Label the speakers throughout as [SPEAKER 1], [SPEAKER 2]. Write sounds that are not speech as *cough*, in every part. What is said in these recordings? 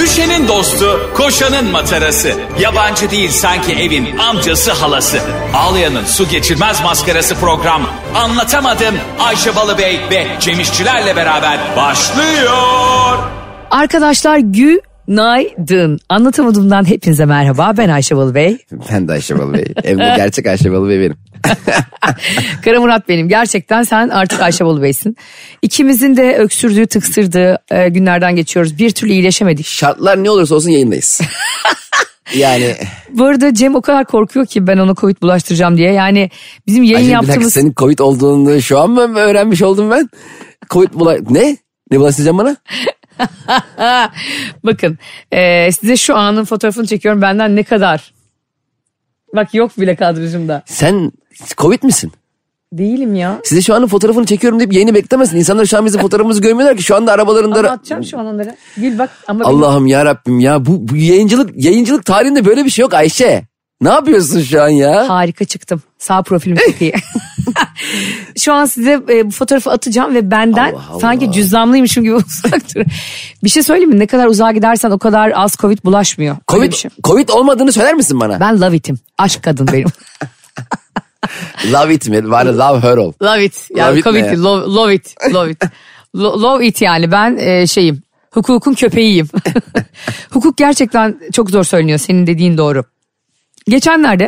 [SPEAKER 1] Ayşe'nin dostu, koşanın matarası. Yabancı değil sanki evin amcası halası. Ağlayan'ın su geçirmez maskarası program. Anlatamadım Ayşe Balıbey ve Cemişçilerle beraber başlıyor.
[SPEAKER 2] Arkadaşlar günaydın. Anlatamadığımdan hepinize merhaba. Ben Ayşe Balı Bey.
[SPEAKER 3] *laughs* Ben de Ayşe Balı Bey. Hem de gerçek Ayşe Balı Bey benim.
[SPEAKER 2] Kara Murat benim. Gerçekten sen artık Ayşe Balı Bey'sin. İkimizin de öksürdüğü, tıksırdığı e, günlerden geçiyoruz. Bir türlü iyileşemedik.
[SPEAKER 3] Şartlar ne olursa
[SPEAKER 2] *laughs*
[SPEAKER 3] olsun yayındayız. yani
[SPEAKER 2] Bu arada Cem o kadar korkuyor ki ben ona Covid bulaştıracağım diye. Yani bizim yayın
[SPEAKER 3] Ayşe bir dakika
[SPEAKER 2] yaptığımız...
[SPEAKER 3] senin Covid olduğunu şu an mı öğrenmiş oldum ben? Covid bula... Ne? Ne bulaştıracaksın bana?
[SPEAKER 2] *laughs* Bakın e, size şu anın fotoğrafını çekiyorum. Benden ne kadar... Bak yok bile kadrajımda.
[SPEAKER 3] Sen Covid misin?
[SPEAKER 2] Değilim ya.
[SPEAKER 3] Size şu anın fotoğrafını çekiyorum deyip yayını beklemesin. İnsanlar şu an bizim fotoğrafımızı görmüyorlar ki. Şu anda arabalarında...
[SPEAKER 2] Ama atacağım şu an onları. Gül bak ama benim-
[SPEAKER 3] Allah'ım ya Rabbim ya bu, bu yayıncılık yayıncılık tarihinde böyle bir şey yok Ayşe. Ne yapıyorsun şu an
[SPEAKER 2] *laughs*
[SPEAKER 3] ya?
[SPEAKER 2] Harika çıktım. Sağ profilim çok iyi. *laughs* Şu an size e, bu fotoğrafı atacağım ve benden
[SPEAKER 3] Allah Allah.
[SPEAKER 2] sanki cüzdanlıymışım gibi *laughs* uzak durun. Bir şey söyleyeyim mi? Ne kadar uzağa gidersen o kadar az Covid bulaşmıyor. Öyle
[SPEAKER 3] Covid,
[SPEAKER 2] bir şey.
[SPEAKER 3] Covid olmadığını söyler misin bana?
[SPEAKER 2] Ben love it'im. Aşk kadın benim.
[SPEAKER 3] Love it mi? Bana love her ol.
[SPEAKER 2] *laughs* love it.
[SPEAKER 3] Love
[SPEAKER 2] Yani
[SPEAKER 3] it ne
[SPEAKER 2] Covid
[SPEAKER 3] ya?
[SPEAKER 2] değil, love, love it. Love it. Lo- love it yani ben e, şeyim. Hukukun köpeğiyim. *laughs* Hukuk gerçekten çok zor söyleniyor. Senin dediğin doğru. Geçenlerde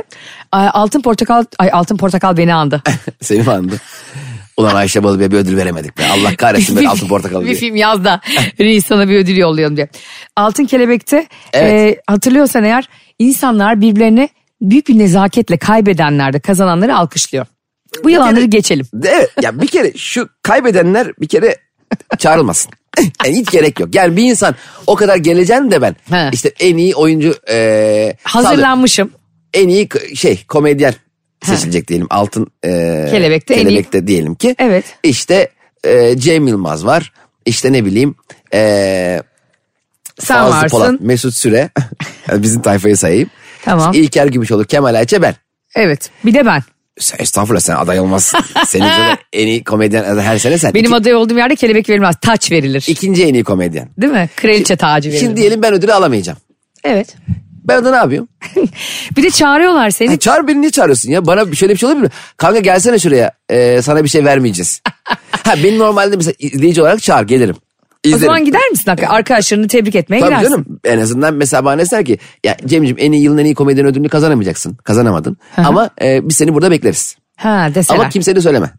[SPEAKER 2] e, Altın Portakal, ay Altın Portakal beni andı.
[SPEAKER 3] Seni mi andı? Ulan Ayşe Balıbey'e bir ödül veremedik be. Allah kahretsin ben altın portakal
[SPEAKER 2] Bir
[SPEAKER 3] diye.
[SPEAKER 2] film yaz
[SPEAKER 3] *laughs*
[SPEAKER 2] da reis sana bir ödül yollayalım diye. Altın Kelebek'te
[SPEAKER 3] Evet.
[SPEAKER 2] e, hatırlıyorsan eğer insanlar birbirlerine büyük bir nezaketle kaybedenler de kazananları alkışlıyor. Bu yalanları geçelim.
[SPEAKER 3] Evet ya bir kere şu kaybedenler bir kere çağrılmasın. *laughs* Yani hiç gerek yok. Yani bir insan o kadar geleceğim de ben
[SPEAKER 2] He.
[SPEAKER 3] işte en iyi oyuncu e, sağlık-
[SPEAKER 2] Hazırlanmışım.
[SPEAKER 3] en iyi k- şey komedyen seçilecek diyelim. Altın e,
[SPEAKER 2] Kelebek'te en iyi-
[SPEAKER 3] Kelebek'te diyelim ki.
[SPEAKER 2] Evet.
[SPEAKER 3] İşte e, Cem Yılmaz var. İşte ne bileyim e,
[SPEAKER 2] Sen
[SPEAKER 3] Fazlı
[SPEAKER 2] varsın.
[SPEAKER 3] Polat, Mesut Süre. *laughs* Yani Bizim tayfayı sayayım.
[SPEAKER 2] Tamam.
[SPEAKER 3] İlker Gümüşoluk, Kemal Ayça ben.
[SPEAKER 2] Evet. Bir de ben.
[SPEAKER 3] Sen, estağfurullah sen
[SPEAKER 2] *laughs*
[SPEAKER 3] aday olmazsın. Senin zaten en iyi komedyen adı her sene sen.
[SPEAKER 2] Benim
[SPEAKER 3] İki-
[SPEAKER 2] aday olduğum yerde kelebek verilmez. Taç verilir.
[SPEAKER 3] ikinci en iyi komedyen.
[SPEAKER 2] Değil mi? Kraliçe tacı verilir.
[SPEAKER 3] Şimdi diyelim ben ödülü alamayacağım.
[SPEAKER 2] evet.
[SPEAKER 3] Ben orada ne yapıyorum?
[SPEAKER 2] Bir de çağırıyorlar
[SPEAKER 3] E,
[SPEAKER 2] seni.
[SPEAKER 3] çağır beni niye çağırıyorsun ya? Bana şöyle bir şey olabilir mi? Kanka gelsene şuraya. Ee, sana bir
[SPEAKER 2] *laughs*
[SPEAKER 3] şey vermeyeceğiz. ha beni normalde mesela izleyici olarak çağır gelirim.
[SPEAKER 2] o
[SPEAKER 3] İzlerim.
[SPEAKER 2] zaman gider misin? hakikaten? Arkadaşlarını tebrik etmeye
[SPEAKER 3] Tabii
[SPEAKER 2] gidersin.
[SPEAKER 3] canım en azından mesela bana deseler ki ya Cem'ciğim en iyi yılın en iyi komedyen ödülünü kazanamayacaksın. Kazanamadın. Ama e, biz seni burada bekleriz.
[SPEAKER 2] Ha deseler.
[SPEAKER 3] Ama kimseye
[SPEAKER 2] *laughs*
[SPEAKER 3] de söyleme.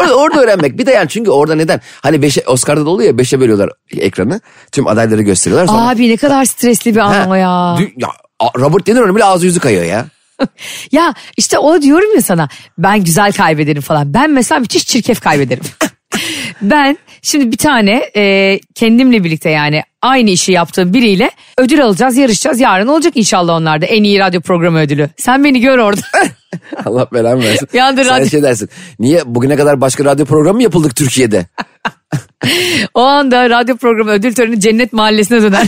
[SPEAKER 3] orada, orada öğrenmek. Bir de yani çünkü orada neden? Hani beşe, Oscar'da da oluyor ya beşe bölüyorlar ekranı. Tüm adayları gösteriyorlar sonra.
[SPEAKER 2] Abi ne kadar stresli bir
[SPEAKER 3] Ha,
[SPEAKER 2] an o ya.
[SPEAKER 3] dü- ya, a- Robert De Niro'nun bile ağzı yüzü kayıyor ya. *laughs*
[SPEAKER 2] Ya işte o diyorum ya sana ben güzel kaybederim falan. Ben mesela müthiş çirkef kaybederim. *laughs* ben şimdi bir tane e, kendimle birlikte yani aynı işi yaptığım biriyle ödül alacağız yarışacağız. Yarın olacak inşallah onlar da en iyi radyo programı ödülü. Sen beni gör orada. *laughs*
[SPEAKER 3] Allah belamı versin.
[SPEAKER 2] Bir anda
[SPEAKER 3] Sen
[SPEAKER 2] radyo-
[SPEAKER 3] şey dersin. Niye bugüne kadar başka radyo programı mı
[SPEAKER 2] *laughs*
[SPEAKER 3] yapıldık Türkiye'de?
[SPEAKER 2] o anda radyo programı ödül töreni cennet mahallesine
[SPEAKER 3] *laughs*
[SPEAKER 2] döner.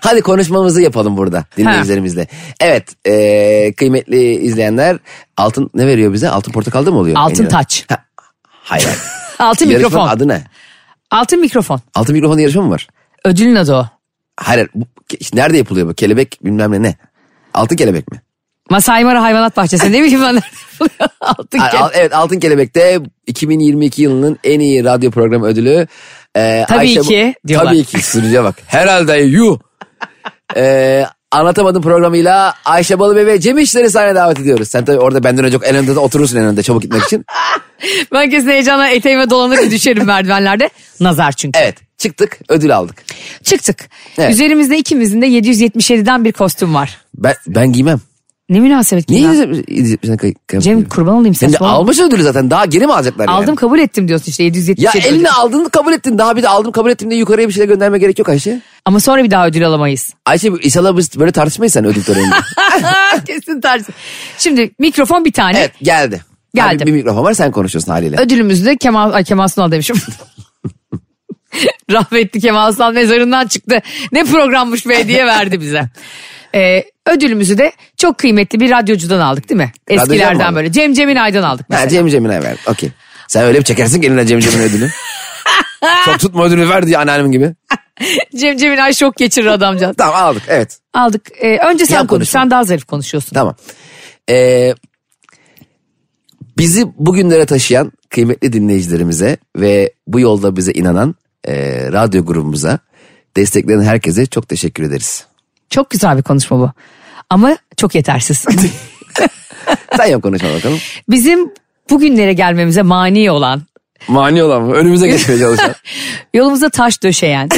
[SPEAKER 3] Hadi konuşmamızı yapalım burada dinleyicilerimizle. Evet e, kıymetli izleyenler altın ne veriyor bize? Altın portakalda mı oluyor?
[SPEAKER 2] Altın
[SPEAKER 3] En-
[SPEAKER 2] taç.
[SPEAKER 3] Ha, hayır. hayır.
[SPEAKER 2] *laughs* Altın
[SPEAKER 3] Yarışmanın
[SPEAKER 2] mikrofon.
[SPEAKER 3] adı ne?
[SPEAKER 2] Altın mikrofon.
[SPEAKER 3] Altın mikrofon yarışma mı var?
[SPEAKER 2] Ödülün adı o.
[SPEAKER 3] Hayır. hayır, Bu, ke- nerede yapılıyor bu? Kelebek bilmem ne ne? Altın kelebek mi?
[SPEAKER 2] Masai Mara Hayvanat Bahçesi ne bileyim ben. *laughs* nerede buluyor? Altın
[SPEAKER 3] Al- al- evet Altın Kelebek'te 2022 yılının en iyi radyo programı ödülü. e,
[SPEAKER 2] Tabii
[SPEAKER 3] Ayşe-
[SPEAKER 2] ki diyorlar.
[SPEAKER 3] Tabii ki sürücüye bak. Herhalde yuh. E, anlatamadım programıyla Ayşe Balıbey ve Cem İşleri sahne davet ediyoruz. Sen tabii orada benden önce en önde de oturursun en önde çabuk gitmek
[SPEAKER 2] *laughs*
[SPEAKER 3] için.
[SPEAKER 2] Ben kesin heyecanla eteğime dolanır düşerim merdivenlerde. Nazar çünkü.
[SPEAKER 3] Evet çıktık ödül aldık.
[SPEAKER 2] Çıktık.
[SPEAKER 3] Evet.
[SPEAKER 2] Üzerimizde ikimizin de 777'den bir kostüm var.
[SPEAKER 3] Ben, ben giymem.
[SPEAKER 2] Ne münasebet
[SPEAKER 3] Niye
[SPEAKER 2] ya?
[SPEAKER 3] yüzüme
[SPEAKER 2] Cem kurban olayım sen.
[SPEAKER 3] Sen de almış ödülü zaten daha geri mi alacaklar
[SPEAKER 2] Aldım
[SPEAKER 3] yani?
[SPEAKER 2] kabul ettim diyorsun işte 777
[SPEAKER 3] Ya
[SPEAKER 2] ödül.
[SPEAKER 3] eline aldın kabul ettin daha bir de aldım kabul ettim diye yukarıya bir şeyler gönderme gerek yok Ayşe.
[SPEAKER 2] Ama sonra bir daha ödül
[SPEAKER 3] *laughs*
[SPEAKER 2] alamayız.
[SPEAKER 3] Ayşe inşallah biz böyle tartışmayız sen ödül töreninde.
[SPEAKER 2] Kesin tersi. Şimdi mikrofon bir tane.
[SPEAKER 3] *laughs* Evet geldi.
[SPEAKER 2] Geldi.
[SPEAKER 3] Hani bir mikrofon var sen konuşuyorsun haliyle.
[SPEAKER 2] Ödülümüz de Kemal, ay Kemal Sunal
[SPEAKER 3] *laughs*
[SPEAKER 2] demişim. Rahmetli Kemal Sunal mezarından çıktı. Ne programmış be diye verdi
[SPEAKER 3] *laughs*
[SPEAKER 2] bize. Ee, ödülümüzü de çok kıymetli bir radyocudan aldık değil mi?
[SPEAKER 3] Radyocudan mı
[SPEAKER 2] Eskilerden
[SPEAKER 3] aldın?
[SPEAKER 2] böyle. Cem Ceminay'dan aldık
[SPEAKER 3] *laughs*
[SPEAKER 2] mesela.
[SPEAKER 3] ha, Cem Cem'ine ver. *laughs* Okey. Sen öyle bir çekersin ki eline Cem Cem'in ödülü. Çok tutma ödülü ver diye anneannem gibi.
[SPEAKER 2] Cem Cemil şok geçirir adamcağız.
[SPEAKER 3] Tamam aldık evet.
[SPEAKER 2] Aldık. Ee, önce sen
[SPEAKER 3] Yap
[SPEAKER 2] konuş.
[SPEAKER 3] konuşma.
[SPEAKER 2] Sen daha zarif konuşuyorsun.
[SPEAKER 3] Tamam. Ee, bizi bugünlere taşıyan kıymetli dinleyicilerimize ve bu yolda bize inanan e, radyo grubumuza destekleyen herkese çok teşekkür ederiz.
[SPEAKER 2] Çok güzel bir konuşma bu. Ama çok yetersiz.
[SPEAKER 3] Sen yap konuşma bakalım.
[SPEAKER 2] Bizim bugünlere gelmemize mani olan,
[SPEAKER 3] Mani olan mı? Önümüze geçmeye çalışan.
[SPEAKER 2] yolumuza taş döşeyen,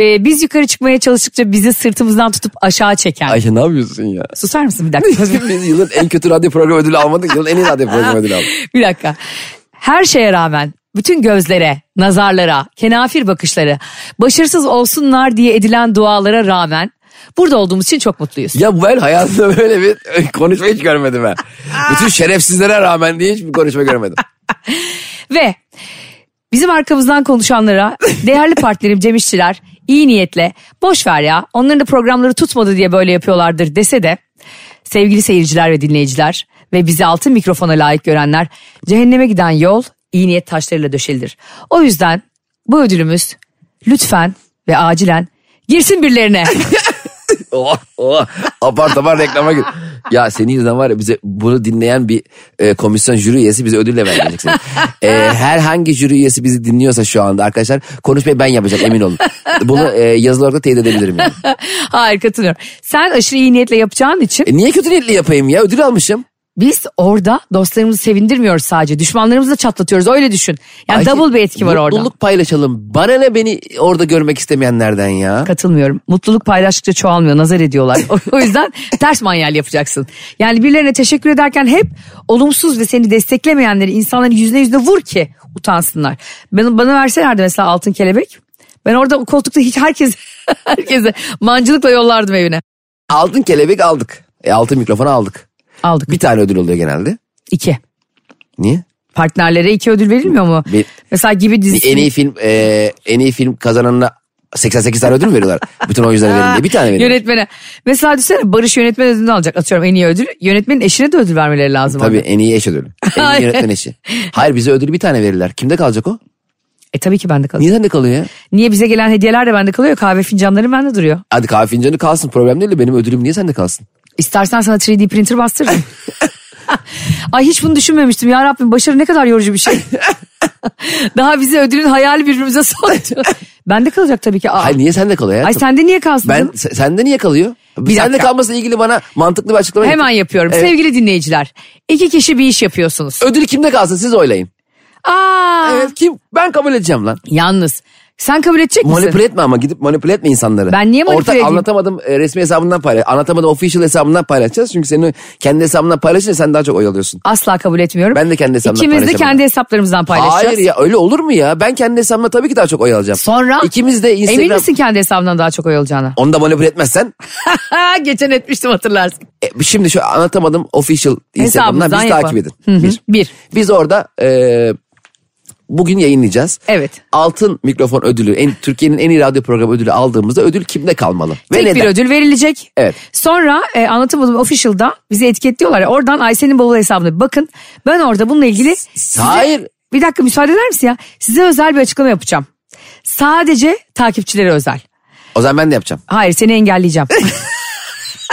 [SPEAKER 2] ee, biz yukarı çıkmaya çalıştıkça bizi sırtımızdan tutup aşağı çeken.
[SPEAKER 3] *laughs* Ayşe ne yapıyorsun ya?
[SPEAKER 2] Susar mısın bir dakika? *laughs*
[SPEAKER 3] Biz *laughs* yılın en kötü radyo programı ödülü almadık. Yılın en iyi radyo programı ödülü aldık.
[SPEAKER 2] bir dakika. Her şeye rağmen bütün gözlere, nazarlara, kenafir bakışları, başarısız olsunlar diye edilen dualara rağmen burada olduğumuz için çok mutluyuz.
[SPEAKER 3] Ya ben hayatımda böyle bir konuşma hiç görmedim ben. Bütün şerefsizlere rağmen diye hiçbir konuşma *laughs* görmedim.
[SPEAKER 2] Ve bizim arkamızdan konuşanlara değerli partnerim Cem İşçiler iyi niyetle boş ver ya onların da programları tutmadı diye böyle yapıyorlardır dese de sevgili seyirciler ve dinleyiciler ve bizi altın mikrofona layık görenler cehenneme giden yol iyi niyet taşlarıyla döşelidir. O yüzden bu ödülümüz lütfen ve acilen girsin birilerine. *laughs*
[SPEAKER 3] Oh, oh. Apar topar reklama gir. Ya senin yüzünden var ya bize bunu dinleyen bir e, komisyon jüri üyesi bize ödülle verecek seni. E, herhangi jüri üyesi bizi dinliyorsa şu anda arkadaşlar konuşmayı ben yapacağım emin olun. Bunu e, yazılı olarak da teyit edebilirim yani.
[SPEAKER 2] Hayır katılıyorum. Sen aşırı iyi niyetle yapacağın için
[SPEAKER 3] E, niye kötü niyetli yapayım ya ödül almışım.
[SPEAKER 2] Biz orada dostlarımızı sevindirmiyoruz sadece. Düşmanlarımızı da çatlatıyoruz öyle düşün. Yani
[SPEAKER 3] Ayşe,
[SPEAKER 2] double bir etki var orada.
[SPEAKER 3] Mutluluk paylaşalım. Bana ne beni orada görmek istemeyenlerden ya.
[SPEAKER 2] Katılmıyorum. Mutluluk paylaştıkça çoğalmıyor. Nazar ediyorlar. *laughs* O- o yüzden ters manyal yapacaksın. Yani birilerine teşekkür ederken hep olumsuz ve seni desteklemeyenleri insanların yüzüne yüzüne vur ki utansınlar. Bana, bana verselerdi mesela altın kelebek. Ben orada koltukta hiç herkes *laughs* herkese mancılıkla yollardım evine.
[SPEAKER 3] Altın kelebek aldık. E, altın mikrofonu aldık.
[SPEAKER 2] Aldık.
[SPEAKER 3] Bir tane ödül oluyor genelde.
[SPEAKER 2] İki.
[SPEAKER 3] Niye?
[SPEAKER 2] Partnerlere iki ödül verilmiyor mu?
[SPEAKER 3] Bir-
[SPEAKER 2] Mesela gibi dizisi.
[SPEAKER 3] En iyi film e, en iyi film kazananına 88 tane ödül mü veriyorlar? Bütün oyunculara verildi. Bir tane veriyor.
[SPEAKER 2] Yönetmene. Mesela düşünsene Barış yönetmen ödülünü alacak. Atıyorum en iyi ödül. Yönetmenin eşine de ödül vermeleri lazım.
[SPEAKER 3] E, Tabii
[SPEAKER 2] orada.
[SPEAKER 3] en iyi eş ödülü. En iyi yönetmen eşi. Hayır bize ödülü bir tane verirler. Kimde kalacak o?
[SPEAKER 2] E tabii ki bende kalıyor. Niye?
[SPEAKER 3] Niye sende kalıyor ya?
[SPEAKER 2] bize gelen hediyeler de bende kalıyor. Kahve fincanları bende duruyor.
[SPEAKER 3] Hadi kahve fincanı kalsın problem değil de benim ödülüm niye sende kalsın?
[SPEAKER 2] İstersen sana 3D printer
[SPEAKER 3] *laughs*
[SPEAKER 2] bastırırım. Ay hiç bunu düşünmemiştim. Ya Rabbim başarı ne kadar yorucu bir
[SPEAKER 3] *laughs*
[SPEAKER 2] şey. Daha bize ödülün hayali birbirimize
[SPEAKER 3] *laughs*
[SPEAKER 2] soktu. bende kalacak tabii ki. Aa.
[SPEAKER 3] Hayır niye sende kalıyor ya?
[SPEAKER 2] Ay sende niye kalsın?
[SPEAKER 3] ben
[SPEAKER 2] canım?
[SPEAKER 3] se- sende niye kalıyor?
[SPEAKER 2] dakika.
[SPEAKER 3] sende kalmasıyla ilgili bana mantıklı bir açıklama
[SPEAKER 2] Hemen
[SPEAKER 3] yapın.
[SPEAKER 2] yapıyorum.
[SPEAKER 3] Evet.
[SPEAKER 2] Sevgili dinleyiciler. iki kişi bir iş yapıyorsunuz.
[SPEAKER 3] Ödül kimde kalsın siz oylayın.
[SPEAKER 2] Aa.
[SPEAKER 3] Evet kim? Ben kabul edeceğim lan.
[SPEAKER 2] Yalnız sen kabul edecek misin?
[SPEAKER 3] Manipüle etme ama gidip manipüle etme insanları.
[SPEAKER 2] Ben niye manipüle
[SPEAKER 3] Ortak
[SPEAKER 2] edeyim?
[SPEAKER 3] anlatamadım e, resmi hesabından paylaş. Anlatamadım official hesabından paylaşacağız. Çünkü senin kendi hesabından paylaşınca sen daha çok oy alıyorsun.
[SPEAKER 2] Asla kabul etmiyorum.
[SPEAKER 3] Ben de kendi hesabımdan
[SPEAKER 2] İkimiz de
[SPEAKER 3] paylaşamam.
[SPEAKER 2] kendi hesaplarımızdan paylaşacağız.
[SPEAKER 3] Hayır ya öyle olur mu ya? Ben kendi hesabımda tabii ki daha çok oy alacağım.
[SPEAKER 2] Sonra?
[SPEAKER 3] İkimiz de Instagram.
[SPEAKER 2] Emin misin kendi hesabından daha çok oy olacağına?
[SPEAKER 3] Onu da manipüle etmezsen.
[SPEAKER 2] *laughs* Geçen etmiştim hatırlarsın.
[SPEAKER 3] E, şimdi şu anlatamadım official Instagram'dan
[SPEAKER 2] Hesabımızdan
[SPEAKER 3] bizi
[SPEAKER 2] yapalım.
[SPEAKER 3] takip edin.
[SPEAKER 2] Hı hı,
[SPEAKER 3] Bir.
[SPEAKER 2] bir.
[SPEAKER 3] Biz orada e, bugün yayınlayacağız.
[SPEAKER 2] Evet.
[SPEAKER 3] Altın mikrofon ödülü, en, Türkiye'nin en iyi radyo programı ödülü aldığımızda ödül kimde kalmalı? Ve
[SPEAKER 2] Tek
[SPEAKER 3] neden?
[SPEAKER 2] bir ödül verilecek.
[SPEAKER 3] Evet.
[SPEAKER 2] Sonra e, anlatamadım official'da bizi etiketliyorlar. ya, Oradan Ayşe'nin bavulu hesabına bir bakın. Ben orada bununla ilgili size-
[SPEAKER 3] Hayır.
[SPEAKER 2] Bir dakika müsaade eder misin ya? Size özel bir açıklama yapacağım. Sadece takipçilere özel.
[SPEAKER 3] O zaman ben de yapacağım.
[SPEAKER 2] Hayır seni *laughs* engelleyeceğim.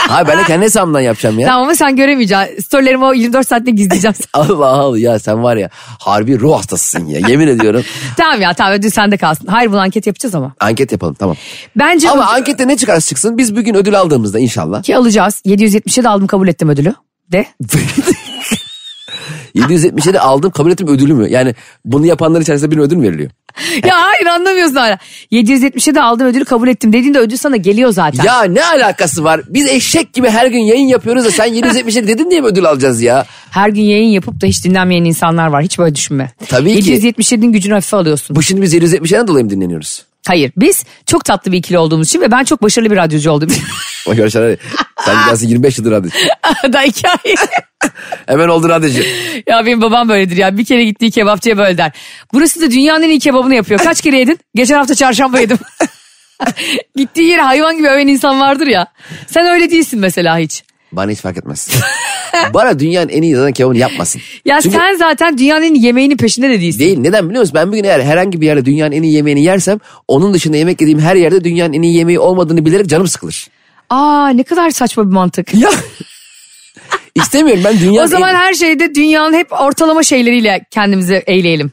[SPEAKER 3] Hayır ben de kendi hesabımdan yapacağım
[SPEAKER 2] *laughs*
[SPEAKER 3] ya.
[SPEAKER 2] tamam ama sen göremeyeceksin. Storylerimi o 24 saatte *laughs* gizleyeceğim.
[SPEAKER 3] Allah Allah ya sen var ya harbi ruh hastasısın ya yemin ediyorum.
[SPEAKER 2] tamam ya tamam ödül sende kalsın. Hayır bunu anket yapacağız ama.
[SPEAKER 3] Anket yapalım tamam.
[SPEAKER 2] Bence
[SPEAKER 3] Ama
[SPEAKER 2] ödül-
[SPEAKER 3] ankette ne çıkarsa çıksın biz bugün ödül aldığımızda inşallah.
[SPEAKER 2] Ki alacağız. 777 aldım kabul ettim ödülü.
[SPEAKER 3] *laughs*
[SPEAKER 2] De.
[SPEAKER 3] 777 aldım kabul ettim ödülü mü? Yani bunu yapanlar içerisinde bir ödül mü veriliyor?
[SPEAKER 2] ya hayır anlamıyorsun hala. 777 aldım ödülü kabul ettim dediğinde ödül sana geliyor zaten.
[SPEAKER 3] Ya ne alakası var? Biz eşek gibi her gün yayın yapıyoruz da sen 777 dedin diye mi ödül alacağız ya?
[SPEAKER 2] Her gün yayın yapıp da hiç dinlenmeyen insanlar var. Hiç böyle düşünme.
[SPEAKER 3] Tabii ki.
[SPEAKER 2] 777'nin gücünü hafife alıyorsun.
[SPEAKER 3] Bu şimdi biz 777'den dolayı mı dinleniyoruz?
[SPEAKER 2] Hayır biz çok tatlı bir ikili olduğumuz için ve ben çok başarılı bir radyocu olduğum
[SPEAKER 3] *laughs*
[SPEAKER 2] için. *laughs*
[SPEAKER 3] O görüşler sen gidersin 25 yıldır radyocu.
[SPEAKER 2] Daha iki ay.
[SPEAKER 3] Hemen oldu radyocu.
[SPEAKER 2] ya benim babam böyledir ya. Bir kere gittiği kebapçıya böyle der. Burası da dünyanın en iyi kebabını yapıyor. Kaç kere yedin? Geçen hafta çarşamba
[SPEAKER 3] *laughs*
[SPEAKER 2] yedim. *laughs* Gittiği yere hayvan gibi öven insan vardır ya. Sen öyle değilsin mesela hiç.
[SPEAKER 3] Bana hiç
[SPEAKER 2] *laughs*
[SPEAKER 3] fark etmez. Bana dünyanın en iyi zaten kebabını yapmasın.
[SPEAKER 2] Ya
[SPEAKER 3] Çünkü
[SPEAKER 2] sen zaten dünyanın yemeğinin peşinde de değilsin.
[SPEAKER 3] Değil. Neden biliyor musun? Ben bugün eğer herhangi bir yerde dünyanın en iyi yemeğini yersem onun dışında yemek yediğim her yerde dünyanın en iyi yemeği olmadığını bilerek canım sıkılır.
[SPEAKER 2] Aa ne kadar saçma bir mantık.
[SPEAKER 3] Ya. *laughs* İstemiyorum ben dünyanın
[SPEAKER 2] o zaman
[SPEAKER 3] en...
[SPEAKER 2] her şeyde dünyanın hep ortalama şeyleriyle kendimizi eğleyelim.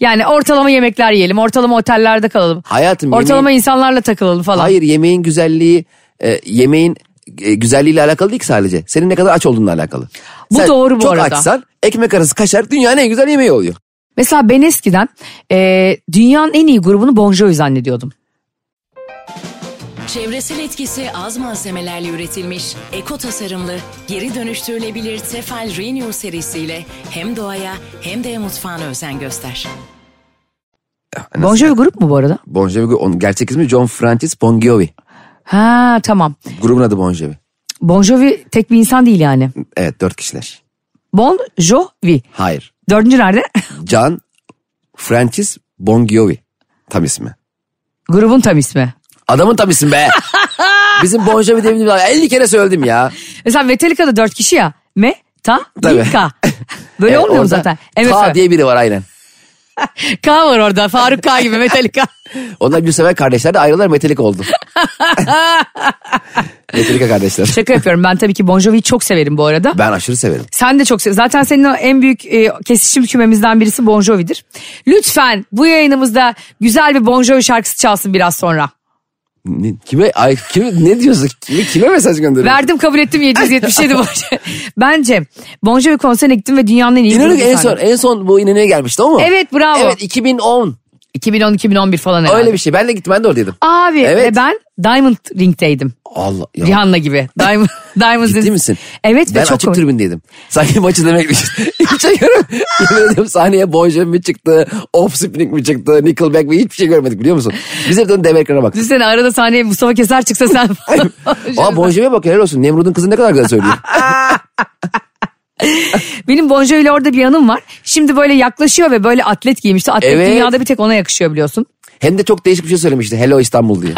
[SPEAKER 2] Yani ortalama yemekler yiyelim, ortalama otellerde kalalım.
[SPEAKER 3] Hayatım
[SPEAKER 2] Ortalama
[SPEAKER 3] yemeğin-
[SPEAKER 2] insanlarla takılalım falan.
[SPEAKER 3] Hayır yemeğin güzelliği e, yemeğin e, güzelliğiyle alakalı değil ki sadece. Senin ne kadar aç olduğunla alakalı.
[SPEAKER 2] Bu doğru bu
[SPEAKER 3] çok
[SPEAKER 2] arada.
[SPEAKER 3] Çok açsan ekmek arası kaşar dünyanın en güzel yemeği oluyor.
[SPEAKER 2] Mesela ben eskiden e, dünyanın en iyi grubunu Bon Jovi zannediyordum.
[SPEAKER 4] Çevresel etkisi az malzemelerle üretilmiş, eko tasarımlı, geri dönüştürülebilir Tefal Renew serisiyle hem doğaya hem de mutfağına özen göster.
[SPEAKER 2] Bon Jovi grup mu bu arada?
[SPEAKER 3] Bon Jovi onun gerçek ismi John Francis Bon Jovi.
[SPEAKER 2] Ha tamam.
[SPEAKER 3] Grubun adı Bon Jovi.
[SPEAKER 2] Bon Jovi tek bir insan değil yani.
[SPEAKER 3] Evet dört kişiler.
[SPEAKER 2] Bon Jovi.
[SPEAKER 3] Hayır.
[SPEAKER 2] Dördüncü nerede?
[SPEAKER 3] John Francis Bon Jovi. Tam ismi.
[SPEAKER 2] *laughs* Grubun tam ismi.
[SPEAKER 3] Adamın tam
[SPEAKER 2] *laughs*
[SPEAKER 3] ismi be. Bizim Bon Jovi diye bir 50 kere söyledim ya.
[SPEAKER 2] Mesela Metallica'da dört kişi ya.
[SPEAKER 3] *laughs*
[SPEAKER 2] Metallica.
[SPEAKER 3] Tabii.
[SPEAKER 2] Böyle
[SPEAKER 3] Evet,
[SPEAKER 2] olmuyor mu
[SPEAKER 3] E, orada
[SPEAKER 2] zaten?
[SPEAKER 3] Ta
[SPEAKER 2] MFÖ.
[SPEAKER 3] diye biri var aynen.
[SPEAKER 2] K var orada. Faruk K gibi
[SPEAKER 3] *laughs*
[SPEAKER 2] Metallica.
[SPEAKER 3] Onlar Gülsever kardeşler de ayrılar
[SPEAKER 2] *laughs*
[SPEAKER 3] metalik oldu. Metallica kardeşler.
[SPEAKER 2] Şaka yapıyorum. Ben tabii ki Bon Jovi'yi çok severim bu arada.
[SPEAKER 3] Ben aşırı severim.
[SPEAKER 2] Sen de çok sev. Zaten senin o en büyük e, kesişim kümemizden birisi Bon Jovi'dir. Lütfen bu yayınımızda güzel bir Bon Jovi şarkısı çalsın biraz sonra.
[SPEAKER 3] Ne- kime, ay, kime, ne diyorsun? Kime, kime mesaj gönderiyorsun?
[SPEAKER 2] Verdim kabul ettim 777 Bon
[SPEAKER 3] *laughs*
[SPEAKER 2] Jovi. Bence Bon Jovi konserine gittim ve dünyanın en iyi
[SPEAKER 3] İnönü
[SPEAKER 2] grubu
[SPEAKER 3] en son,
[SPEAKER 2] sandım.
[SPEAKER 3] en son bu İnönü'ye gelmişti o mu?
[SPEAKER 2] Evet, bravo.
[SPEAKER 3] Evet 2010.
[SPEAKER 2] 2010-2011 falan herhalde.
[SPEAKER 3] Öyle bir şey. Ben de gittim ben de oradaydım.
[SPEAKER 2] Abi
[SPEAKER 3] Evet.
[SPEAKER 2] ve ben Diamond Ring'deydim.
[SPEAKER 3] Allah ya.
[SPEAKER 2] Rihanna gibi.
[SPEAKER 3] *laughs*
[SPEAKER 2] Diamond, Diamond
[SPEAKER 3] Ciddi
[SPEAKER 2] Ring.
[SPEAKER 3] misin?
[SPEAKER 2] Evet
[SPEAKER 3] ben
[SPEAKER 2] ve çok
[SPEAKER 3] açık
[SPEAKER 2] komik.
[SPEAKER 3] tribündeydim. Sanki maçı demekmiş. Hiçbir şey *laughs* görmedim. Yemin ediyorum sahneye Bon Jovi mi çıktı, Offspring mi çıktı, Nickelback mi hiçbir şey görmedik biliyor musun? Biz hep dönüp dev ekrana baktık.
[SPEAKER 2] Düşünsene arada sahneye Mustafa Keser çıksa
[SPEAKER 3] *laughs*
[SPEAKER 2] sen *laughs* falan.
[SPEAKER 3] Aa Bon Jovi'ye bak helal olsun. Nemrut'un kızı ne kadar
[SPEAKER 2] *laughs*
[SPEAKER 3] güzel söylüyor.
[SPEAKER 2] Benim Bon Jovi'yle orada bir yanım var. Şimdi böyle yaklaşıyor ve böyle atlet giymişti. Atlet
[SPEAKER 3] Evet.
[SPEAKER 2] dünyada bir tek ona yakışıyor biliyorsun. *laughs*
[SPEAKER 3] Hem de çok değişik bir şey söylemişti. Hello İstanbul diye.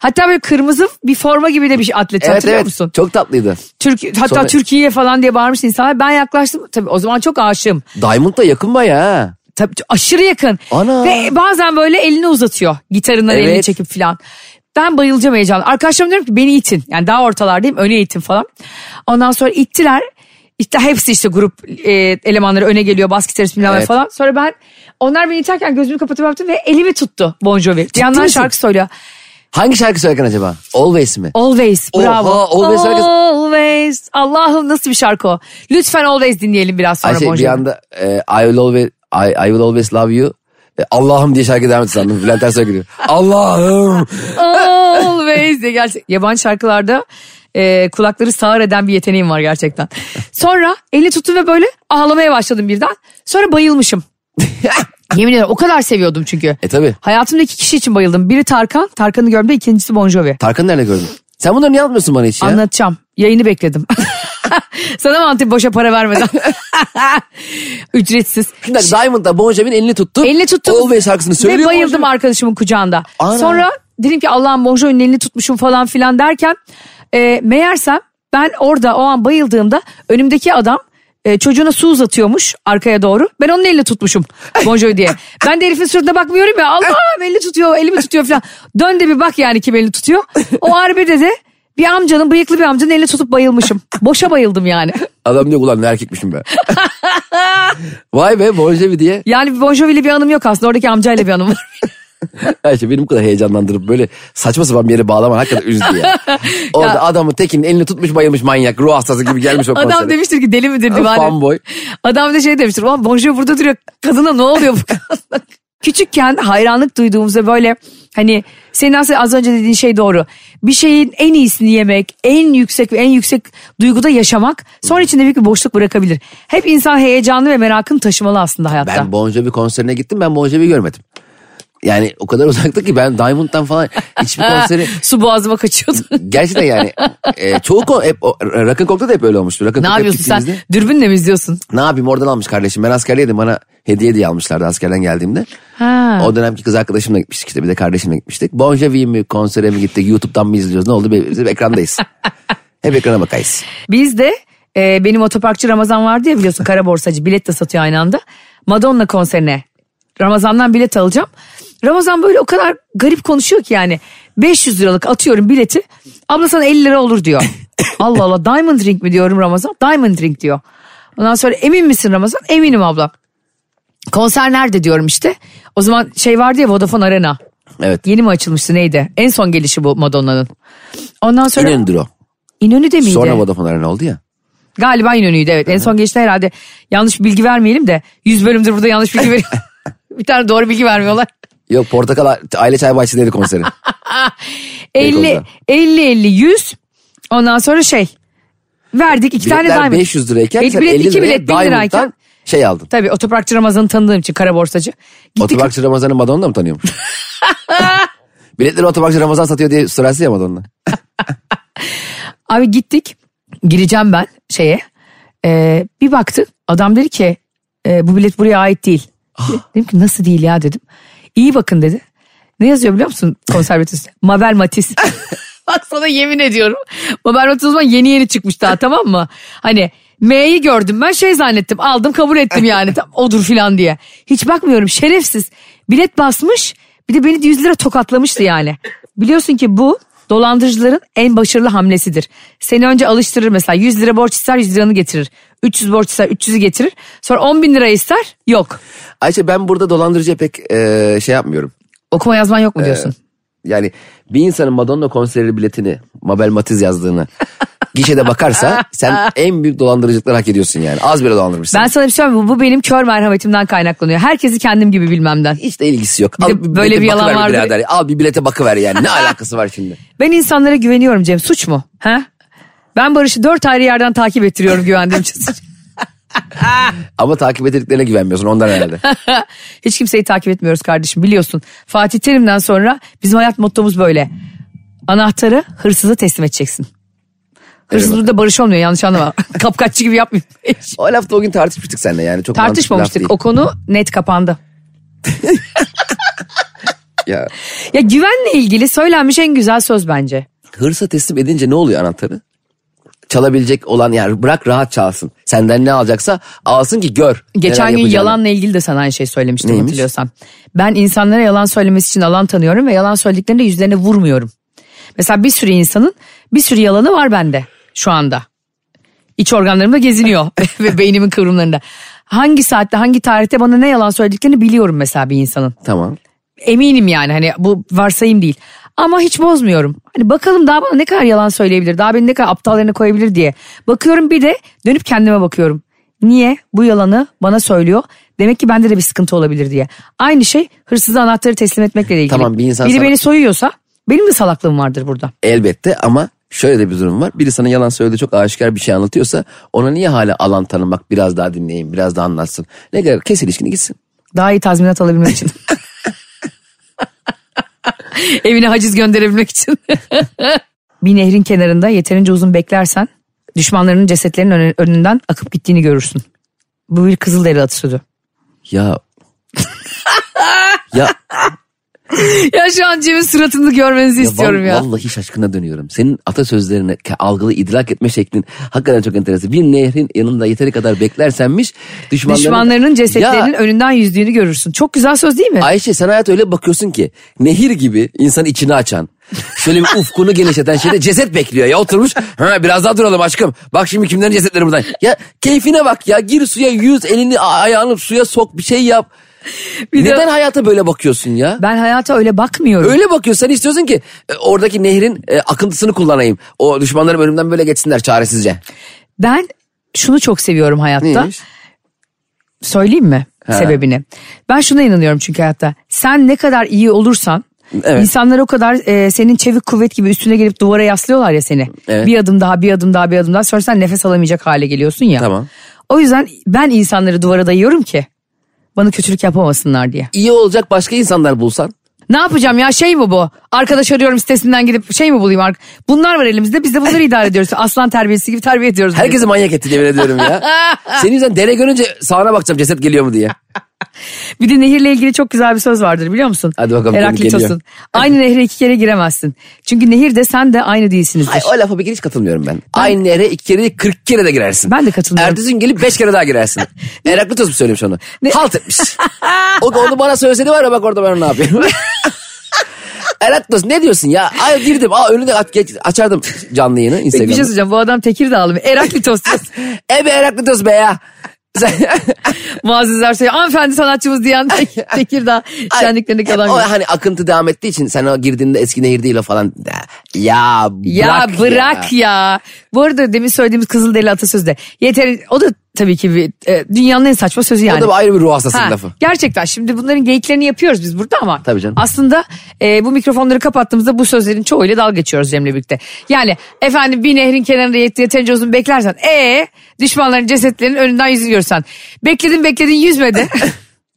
[SPEAKER 2] Hatta böyle kırmızı bir forma gibi de bir şey atlet
[SPEAKER 3] evet
[SPEAKER 2] hatırlıyor
[SPEAKER 3] evet.
[SPEAKER 2] musun?
[SPEAKER 3] Çok tatlıydı.
[SPEAKER 2] Türk, hatta
[SPEAKER 3] Sonra-
[SPEAKER 2] Türkiye falan diye bağırmış insanlar. Ben yaklaştım. Tabii o zaman çok aşığım.
[SPEAKER 3] Diamond da yakın baya ha.
[SPEAKER 2] Tabii aşırı yakın.
[SPEAKER 3] Ana.
[SPEAKER 2] Ve bazen böyle elini uzatıyor. Gitarından
[SPEAKER 3] Evet.
[SPEAKER 2] elini çekip filan. Ben bayılacağım heyecanla. Arkadaşlarım diyorum ki beni itin. Yani daha ortalardayım öne itin falan. Ondan sonra ittiler. İşte hepsi işte grup e, elemanları öne geliyor. Bas gitarist bilmem ne
[SPEAKER 3] Evet.
[SPEAKER 2] falan. Sonra ben onlar beni iterken gözümü kapatıp yaptım ve elimi tuttu Bon Jovi. Bir yandan
[SPEAKER 3] misin?
[SPEAKER 2] şarkı söylüyor.
[SPEAKER 3] Hangi şarkı söylerken acaba? Always mi?
[SPEAKER 2] Always
[SPEAKER 3] Oha,
[SPEAKER 2] bravo.
[SPEAKER 3] Always herkes-
[SPEAKER 2] Always. Allah'ım nasıl bir şarkı o. Lütfen Always dinleyelim biraz sonra
[SPEAKER 3] Ayşe
[SPEAKER 2] Bon
[SPEAKER 3] bir
[SPEAKER 2] Jovi.
[SPEAKER 3] anda e, I, will always, I, I will always love you. E, Allah'ım diye şarkı devam etti sandım. Bülent Ersoy geliyor. Allah'ım.
[SPEAKER 2] Always diye gerçek. Yabancı şarkılarda e, kulakları sağır eden bir yeteneğim var gerçekten. Sonra eli tuttu ve böyle ağlamaya başladım birden. Sonra bayılmışım. Yemin ederim o kadar seviyordum çünkü.
[SPEAKER 3] E tabi.
[SPEAKER 2] Hayatımda iki kişi için bayıldım. Biri Tarkan, Tarkan'ı gördüm de ikincisi Bon Jovi.
[SPEAKER 3] Tarkan'ı nerede gördün? Sen bunları niye anlatmıyorsun bana hiç ya?
[SPEAKER 2] Anlatacağım. Yayını bekledim. Sana mı anlatayım boşa para vermeden? Ücretsiz.
[SPEAKER 3] Şimdi Diamond da Bon Jovi'nin elini tuttu.
[SPEAKER 2] Elini tuttum.
[SPEAKER 3] Always şarkısını söylüyor.
[SPEAKER 2] Ve
[SPEAKER 3] Bon Jovi.
[SPEAKER 2] bayıldım arkadaşımın kucağında.
[SPEAKER 3] Ana.
[SPEAKER 2] Sonra dedim ki Allah'ım Bon Jovi'nin elini tutmuşum falan filan derken e, meğersem ben orada o an bayıldığımda önümdeki adam e, çocuğuna su uzatıyormuş arkaya doğru. Ben onun elini tutmuşum *laughs* Bon Jovi diye. Ben de herifin suratına bakmıyorum ya Allah'ım elini tutuyor elimi tutuyor falan. Dön de bir bak yani kim elini tutuyor. O harbide de bir amcanın bıyıklı bir amcanın elini tutup bayılmışım. Boşa bayıldım yani.
[SPEAKER 3] Adam diyor ulan ne
[SPEAKER 2] *laughs*
[SPEAKER 3] erkekmişim be. Vay be Bon Jovi diye.
[SPEAKER 2] Yani Bon Jovi'li bir anım yok aslında oradaki amcayla bir anım var.
[SPEAKER 3] Ayşe benim bu kadar heyecanlandırıp böyle saçma sapan bir yere bağlaman hakikaten üzdü
[SPEAKER 2] *laughs*
[SPEAKER 3] ya. Orada adamın tekinin elini tutmuş bayılmış manyak ruh hastası gibi gelmiş o konsere.
[SPEAKER 2] Adam demiştir ki deli midir divane.
[SPEAKER 3] Fanboy.
[SPEAKER 2] Adam da şey demiştir. Ulan Bon Jovi burada duruyor. Kadına ne oluyor bu kadına? Küçükken hayranlık duyduğumuzda böyle hani senin aslında az önce dediğin şey doğru. Bir şeyin en iyisini yemek, en yüksek ve en yüksek duyguda yaşamak sonra içinde büyük bir boşluk bırakabilir. Hep insan heyecanlı ve merakını taşımalı aslında hayatta.
[SPEAKER 3] Ben Bon Jovi konserine gittim ben Bon Jovi'yi görmedim. Yani o kadar uzakta ki ben Diamond'dan falan
[SPEAKER 2] *laughs*
[SPEAKER 3] hiçbir konseri...
[SPEAKER 2] Su boğazıma kaçıyordu.
[SPEAKER 3] Gerçekten yani e, çoğu kon, hep o- Rock'n Coke'da da hep öyle olmuştu. Rock'n
[SPEAKER 2] ne
[SPEAKER 3] Coke'a
[SPEAKER 2] yapıyorsun sen?
[SPEAKER 3] gittiğimizde-
[SPEAKER 2] Dürbünle mi izliyorsun?
[SPEAKER 3] Ne yapayım oradan almış kardeşim. Ben askerdeydim bana hediye diye almışlardı askerden geldiğimde.
[SPEAKER 2] Ha.
[SPEAKER 3] O dönemki kız arkadaşımla gitmiştik işte bir
[SPEAKER 2] *laughs*
[SPEAKER 3] de kardeşimle gitmiştik. Bon Jovi mi konsere mi gittik YouTube'dan mı izliyoruz ne oldu? Biz hep ekrandayız. Hep ekrana bakayız.
[SPEAKER 2] Biz de e, benim otoparkçı Ramazan vardı ya biliyorsun kara borsacı bilet de satıyor aynı anda. Madonna konserine Ramazan'dan bilet alacağım. Ramazan böyle o kadar garip konuşuyor ki yani 500 liralık atıyorum bileti abla sana 50 lira olur diyor. Allah Allah diamond ring mi diyorum Ramazan diamond ring diyor. Ondan sonra emin misin Ramazan eminim abla. Konser nerede diyorum işte. O zaman şey vardı ya Vodafone Arena.
[SPEAKER 3] Evet.
[SPEAKER 2] Yeni mi açılmıştı neydi? En son gelişi bu Madonna'nın. Ondan sonra
[SPEAKER 3] İnönü'dür o.
[SPEAKER 2] İnönü de miydi?
[SPEAKER 3] Sonra Vodafone Arena oldu ya.
[SPEAKER 2] Galiba İnönü'ydü evet. En son geçti herhalde. Yanlış bilgi vermeyelim de 100 bölümdür burada yanlış
[SPEAKER 3] *laughs*
[SPEAKER 2] bilgi veriyor. *laughs* bir tane doğru bilgi vermiyorlar.
[SPEAKER 3] Yok Portakal A- Aile Çay Bahçesi'ndeydi konseri.
[SPEAKER 2] *laughs* 50
[SPEAKER 3] Beykoz'da.
[SPEAKER 2] 50 50 100. Ondan sonra şey. Verdik iki tane
[SPEAKER 3] Biletler
[SPEAKER 2] daim.
[SPEAKER 3] 500 lirayken
[SPEAKER 2] El-
[SPEAKER 3] sen
[SPEAKER 2] bilet
[SPEAKER 3] 50
[SPEAKER 2] iki
[SPEAKER 3] liraya
[SPEAKER 2] bilet, bin lirayken.
[SPEAKER 3] Diamond'dan şey aldın.
[SPEAKER 2] Tabii otoparkçı Ramazan'ı tanıdığım için kara borsacı. Gittik.
[SPEAKER 3] Otoparkçı Ramazan'ı Madonna mı
[SPEAKER 2] *laughs*
[SPEAKER 3] tanıyormuş? Biletleri Otoparkçı Ramazan satıyor diye sırası ya Madonna.
[SPEAKER 2] Abi gittik. Gireceğim ben şeye. Ee, bir baktı adam dedi ki "E, bu bilet buraya ait değil. dedim ki nasıl değil ya dedim. İyi bakın dedi. Ne yazıyor biliyor musun konservatüsü? Mabel Matiz. *laughs* Bak sana yemin ediyorum. Mabel Matiz o zaman yeni yeni çıkmış daha tamam mı? Hani M'yi gördüm ben şey zannettim aldım kabul ettim yani tam odur filan diye. Hiç bakmıyorum şerefsiz. Bilet basmış bir de beni 100 lira tokatlamıştı yani. Biliyorsun ki bu dolandırıcıların en başarılı hamlesidir. Seni önce alıştırır mesela 100 lira borç ister 100 liranı getirir. 300 borç ister 300'ü getirir. Sonra 10 bin lira ister yok.
[SPEAKER 3] Ayşe ben burada dolandırıcıya pek e, şey yapmıyorum.
[SPEAKER 2] Okuma yazman yok mu diyorsun?
[SPEAKER 3] Yani bir insanın Madonna konseri biletini Mabel
[SPEAKER 2] *laughs*
[SPEAKER 3] Matiz yazdığını gişede bakarsa sen en büyük dolandırıcılıkları hak ediyorsun yani. Az bile dolandırmışsın.
[SPEAKER 2] Ben sana bir şey söyleyeyim mi? Bu benim kör merhametimden kaynaklanıyor. Herkesi kendim gibi bilmemden.
[SPEAKER 3] Hiç de ilgisi yok.
[SPEAKER 2] Bir de
[SPEAKER 3] bilete
[SPEAKER 2] böyle bir yalan
[SPEAKER 3] bakıver
[SPEAKER 2] vardı.
[SPEAKER 3] birader. Al bir bilete bakıver yani.
[SPEAKER 2] *laughs*
[SPEAKER 3] Ne alakası var şimdi?
[SPEAKER 2] Ben insanlara güveniyorum Cem. Suç mu? Ha? Ben Barış'ı dört ayrı yerden takip ettiriyorum güvendiğim için.
[SPEAKER 3] Ama takip ettiklerine güvenmiyorsun
[SPEAKER 2] *laughs*
[SPEAKER 3] ondan herhalde.
[SPEAKER 2] Hiç kimseyi takip etmiyoruz kardeşim biliyorsun. Fatih Terim'den sonra bizim hayat mottomuz böyle. Anahtarı hırsıza teslim edeceksin. Hırsız
[SPEAKER 3] Eyvallah.
[SPEAKER 2] burada barış olmuyor yanlış anlama. Kapkaççı gibi yapmayayım.
[SPEAKER 3] O lafta o gün tartışmıştık seninle yani. Çok mantıklı
[SPEAKER 2] Tartışmamıştık. O
[SPEAKER 3] laf
[SPEAKER 2] konu net kapandı.
[SPEAKER 3] değil. Ya,
[SPEAKER 2] Ya güvenle ilgili söylenmiş en güzel söz bence.
[SPEAKER 3] hırsa teslim edince ne oluyor anahtarı? Çalabilecek olan yani bırak rahat çalsın. Senden ne alacaksa alsın ki gör. neler
[SPEAKER 2] Geçen gün
[SPEAKER 3] yapacağını.
[SPEAKER 2] yalanla ilgili de sana aynı şey söylemiştim
[SPEAKER 3] Neymiş?
[SPEAKER 2] hatırlıyorsan. Ben insanlara yalan söylemesi için alan tanıyorum ve yalan söylediklerinde yüzlerine vurmuyorum. Mesela bir sürü insanın bir sürü yalanı var bende şu anda. İç organlarımda geziniyor *laughs* ve beynimin kıvrımlarında. Hangi saatte hangi tarihte bana ne yalan söylediklerini biliyorum mesela bir insanın.
[SPEAKER 3] Tamam.
[SPEAKER 2] Eminim yani hani bu varsayım değil. Ama hiç bozmuyorum. Hani bakalım daha bana ne kadar yalan söyleyebilir, daha beni ne kadar aptal yerine koyabilir diye. Bakıyorum bir de dönüp kendime bakıyorum. Niye bu yalanı bana söylüyor? Demek ki bende de bir sıkıntı olabilir diye. Aynı şey hırsıza anahtarı teslim etmekle de ilgili.
[SPEAKER 3] Tamam, bir insan
[SPEAKER 2] Biri
[SPEAKER 3] sana-
[SPEAKER 2] beni soyuyorsa benim de salaklığım vardır burada.
[SPEAKER 3] Elbette ama şöyle de bir durum var. Biri sana yalan söyledi çok aşikar bir şey anlatıyorsa ona niye hala alan tanımak biraz daha dinleyin biraz daha anlatsın. Ne kadar kes ilişkini gitsin.
[SPEAKER 2] Daha iyi tazminat alabilmek için. *laughs* Evine haciz gönderebilmek için. *laughs* bir nehrin kenarında yeterince uzun beklersen düşmanlarının cesetlerinin önü- önünden akıp gittiğini görürsün. Bu bir Kızılderili atasözü. *laughs*
[SPEAKER 3] Ya. ya
[SPEAKER 2] Ya şu an Cem'in suratını görmenizi
[SPEAKER 3] Ya
[SPEAKER 2] istiyorum
[SPEAKER 3] val-
[SPEAKER 2] ya.
[SPEAKER 3] Vallahi şaşkına dönüyorum. Senin atasözlerine ka- algılı idrak etme şeklin hakikaten çok enteresan. Bir nehrin yanında yeteri kadar beklersenmiş düşmanların...
[SPEAKER 2] Düşmanlarının cesetlerinin
[SPEAKER 3] Ya
[SPEAKER 2] önünden yüzdüğünü görürsün. Çok güzel söz değil mi?
[SPEAKER 3] Ayşe sen hayata öyle bakıyorsun ki nehir gibi insanın içini açan. Şöyle bir ufkunu genişleten şeyde ceset bekliyor ya oturmuş. Ha, biraz daha duralım aşkım. Bak şimdi kimlerin cesetleri buradan. Ya keyfine bak ya gir suya yüz elini a- ayağını suya sok bir şey yap.
[SPEAKER 2] Bir de-
[SPEAKER 3] Neden hayata böyle bakıyorsun ya?
[SPEAKER 2] Ben hayata öyle bakmıyorum.
[SPEAKER 3] Öyle bakıyorsun sen istiyorsun ki e, oradaki nehrin e, akıntısını kullanayım. O düşmanlarım önümden böyle geçsinler çaresizce.
[SPEAKER 2] Ben şunu çok seviyorum hayatta.
[SPEAKER 3] Neymiş?
[SPEAKER 2] söyleyeyim mi sebebini? Ben şuna inanıyorum çünkü hayatta. Sen ne kadar iyi olursan
[SPEAKER 3] Evet.
[SPEAKER 2] insanlar o kadar e, senin çevik kuvvet gibi üstüne gelip duvara yaslıyorlar ya seni.
[SPEAKER 3] Evet.
[SPEAKER 2] Bir adım daha bir adım daha bir adım daha sonra sen nefes alamayacak hale geliyorsun ya.
[SPEAKER 3] Tamam.
[SPEAKER 2] O yüzden ben insanları duvara dayıyorum ki bana kötülük yapamasınlar diye.
[SPEAKER 3] İyi olacak başka insanlar bulsan.
[SPEAKER 2] Ne yapacağım ya şey mi bu? Arkadaş arıyorum sitesinden gidip şey mi bulayım? Ark- Bunlar var elimizde biz de
[SPEAKER 3] *laughs*
[SPEAKER 2] bunları idare ediyoruz. Aslan terbiyesi gibi terbiye ediyoruz. *laughs*
[SPEAKER 3] Herkesi manyak etti yemin ediyorum ya. Senin yüzünden dere görünce sağına bakacağım ceset geliyor mu diye.
[SPEAKER 2] Bir de nehirle ilgili çok güzel bir söz vardır biliyor musun?
[SPEAKER 3] Hadi bakalım, konu geliyor.
[SPEAKER 2] Heraklitos'un. Aynı nehre iki kere giremezsin. Çünkü nehirde sen de aynı değilsinizdir.
[SPEAKER 3] Ay, o lafa bir kere hiç katılmıyorum ben. Aynı yere iki kere değil kırk kere de girersin.
[SPEAKER 2] Ben de katılmıyorum.
[SPEAKER 3] Ertesi gün gelip beş kere
[SPEAKER 2] *laughs*
[SPEAKER 3] daha girersin. Heraklitos mu söylemiş onu? Halt etmiş. o da onu bana söyleseydi var ya bak orada ben ne yapıyorum. *laughs* Heraklitos ne diyorsun ya? Ay girdim. Aa önünde aç, geç, açardım canlı yayını
[SPEAKER 2] Peki bir şey
[SPEAKER 3] Instagram'da.
[SPEAKER 2] söyleyeceğim bu adam Tekirdağlı mı? Heraklitos.
[SPEAKER 3] *laughs* E be Heraklitos be ya. Sen,
[SPEAKER 2] Muazzez Ersoy hanımefendi sanatçımız diyen Tek- Tekirdağ *laughs* şenliklerindeki adam.
[SPEAKER 3] o
[SPEAKER 2] gibi.
[SPEAKER 3] hani akıntı devam ettiği için sen o girdiğinde eski nehir değil o falan. Ya bırak
[SPEAKER 2] Ya bırak ya. Bu arada demin söylediğimiz Kızılderili atasözü de. Yeter, o da tabii ki bir, e, dünyanın en saçma sözü yani.
[SPEAKER 3] O da bir ayrı bir ruh hastası
[SPEAKER 2] Ha,
[SPEAKER 3] lafı.
[SPEAKER 2] Gerçekten şimdi bunların geyiklerini yapıyoruz biz burada ama.
[SPEAKER 3] Tabii canım.
[SPEAKER 2] Aslında e, bu mikrofonları kapattığımızda bu sözlerin çoğuyla dalga geçiyoruz Cem'le birlikte. Yani efendim bir nehrin kenarında yet- yeterince uzun beklersen. ee düşmanların cesetlerinin önünden yüzünü görsen. Bekledin bekledin
[SPEAKER 3] *laughs*
[SPEAKER 2] yüzmedi.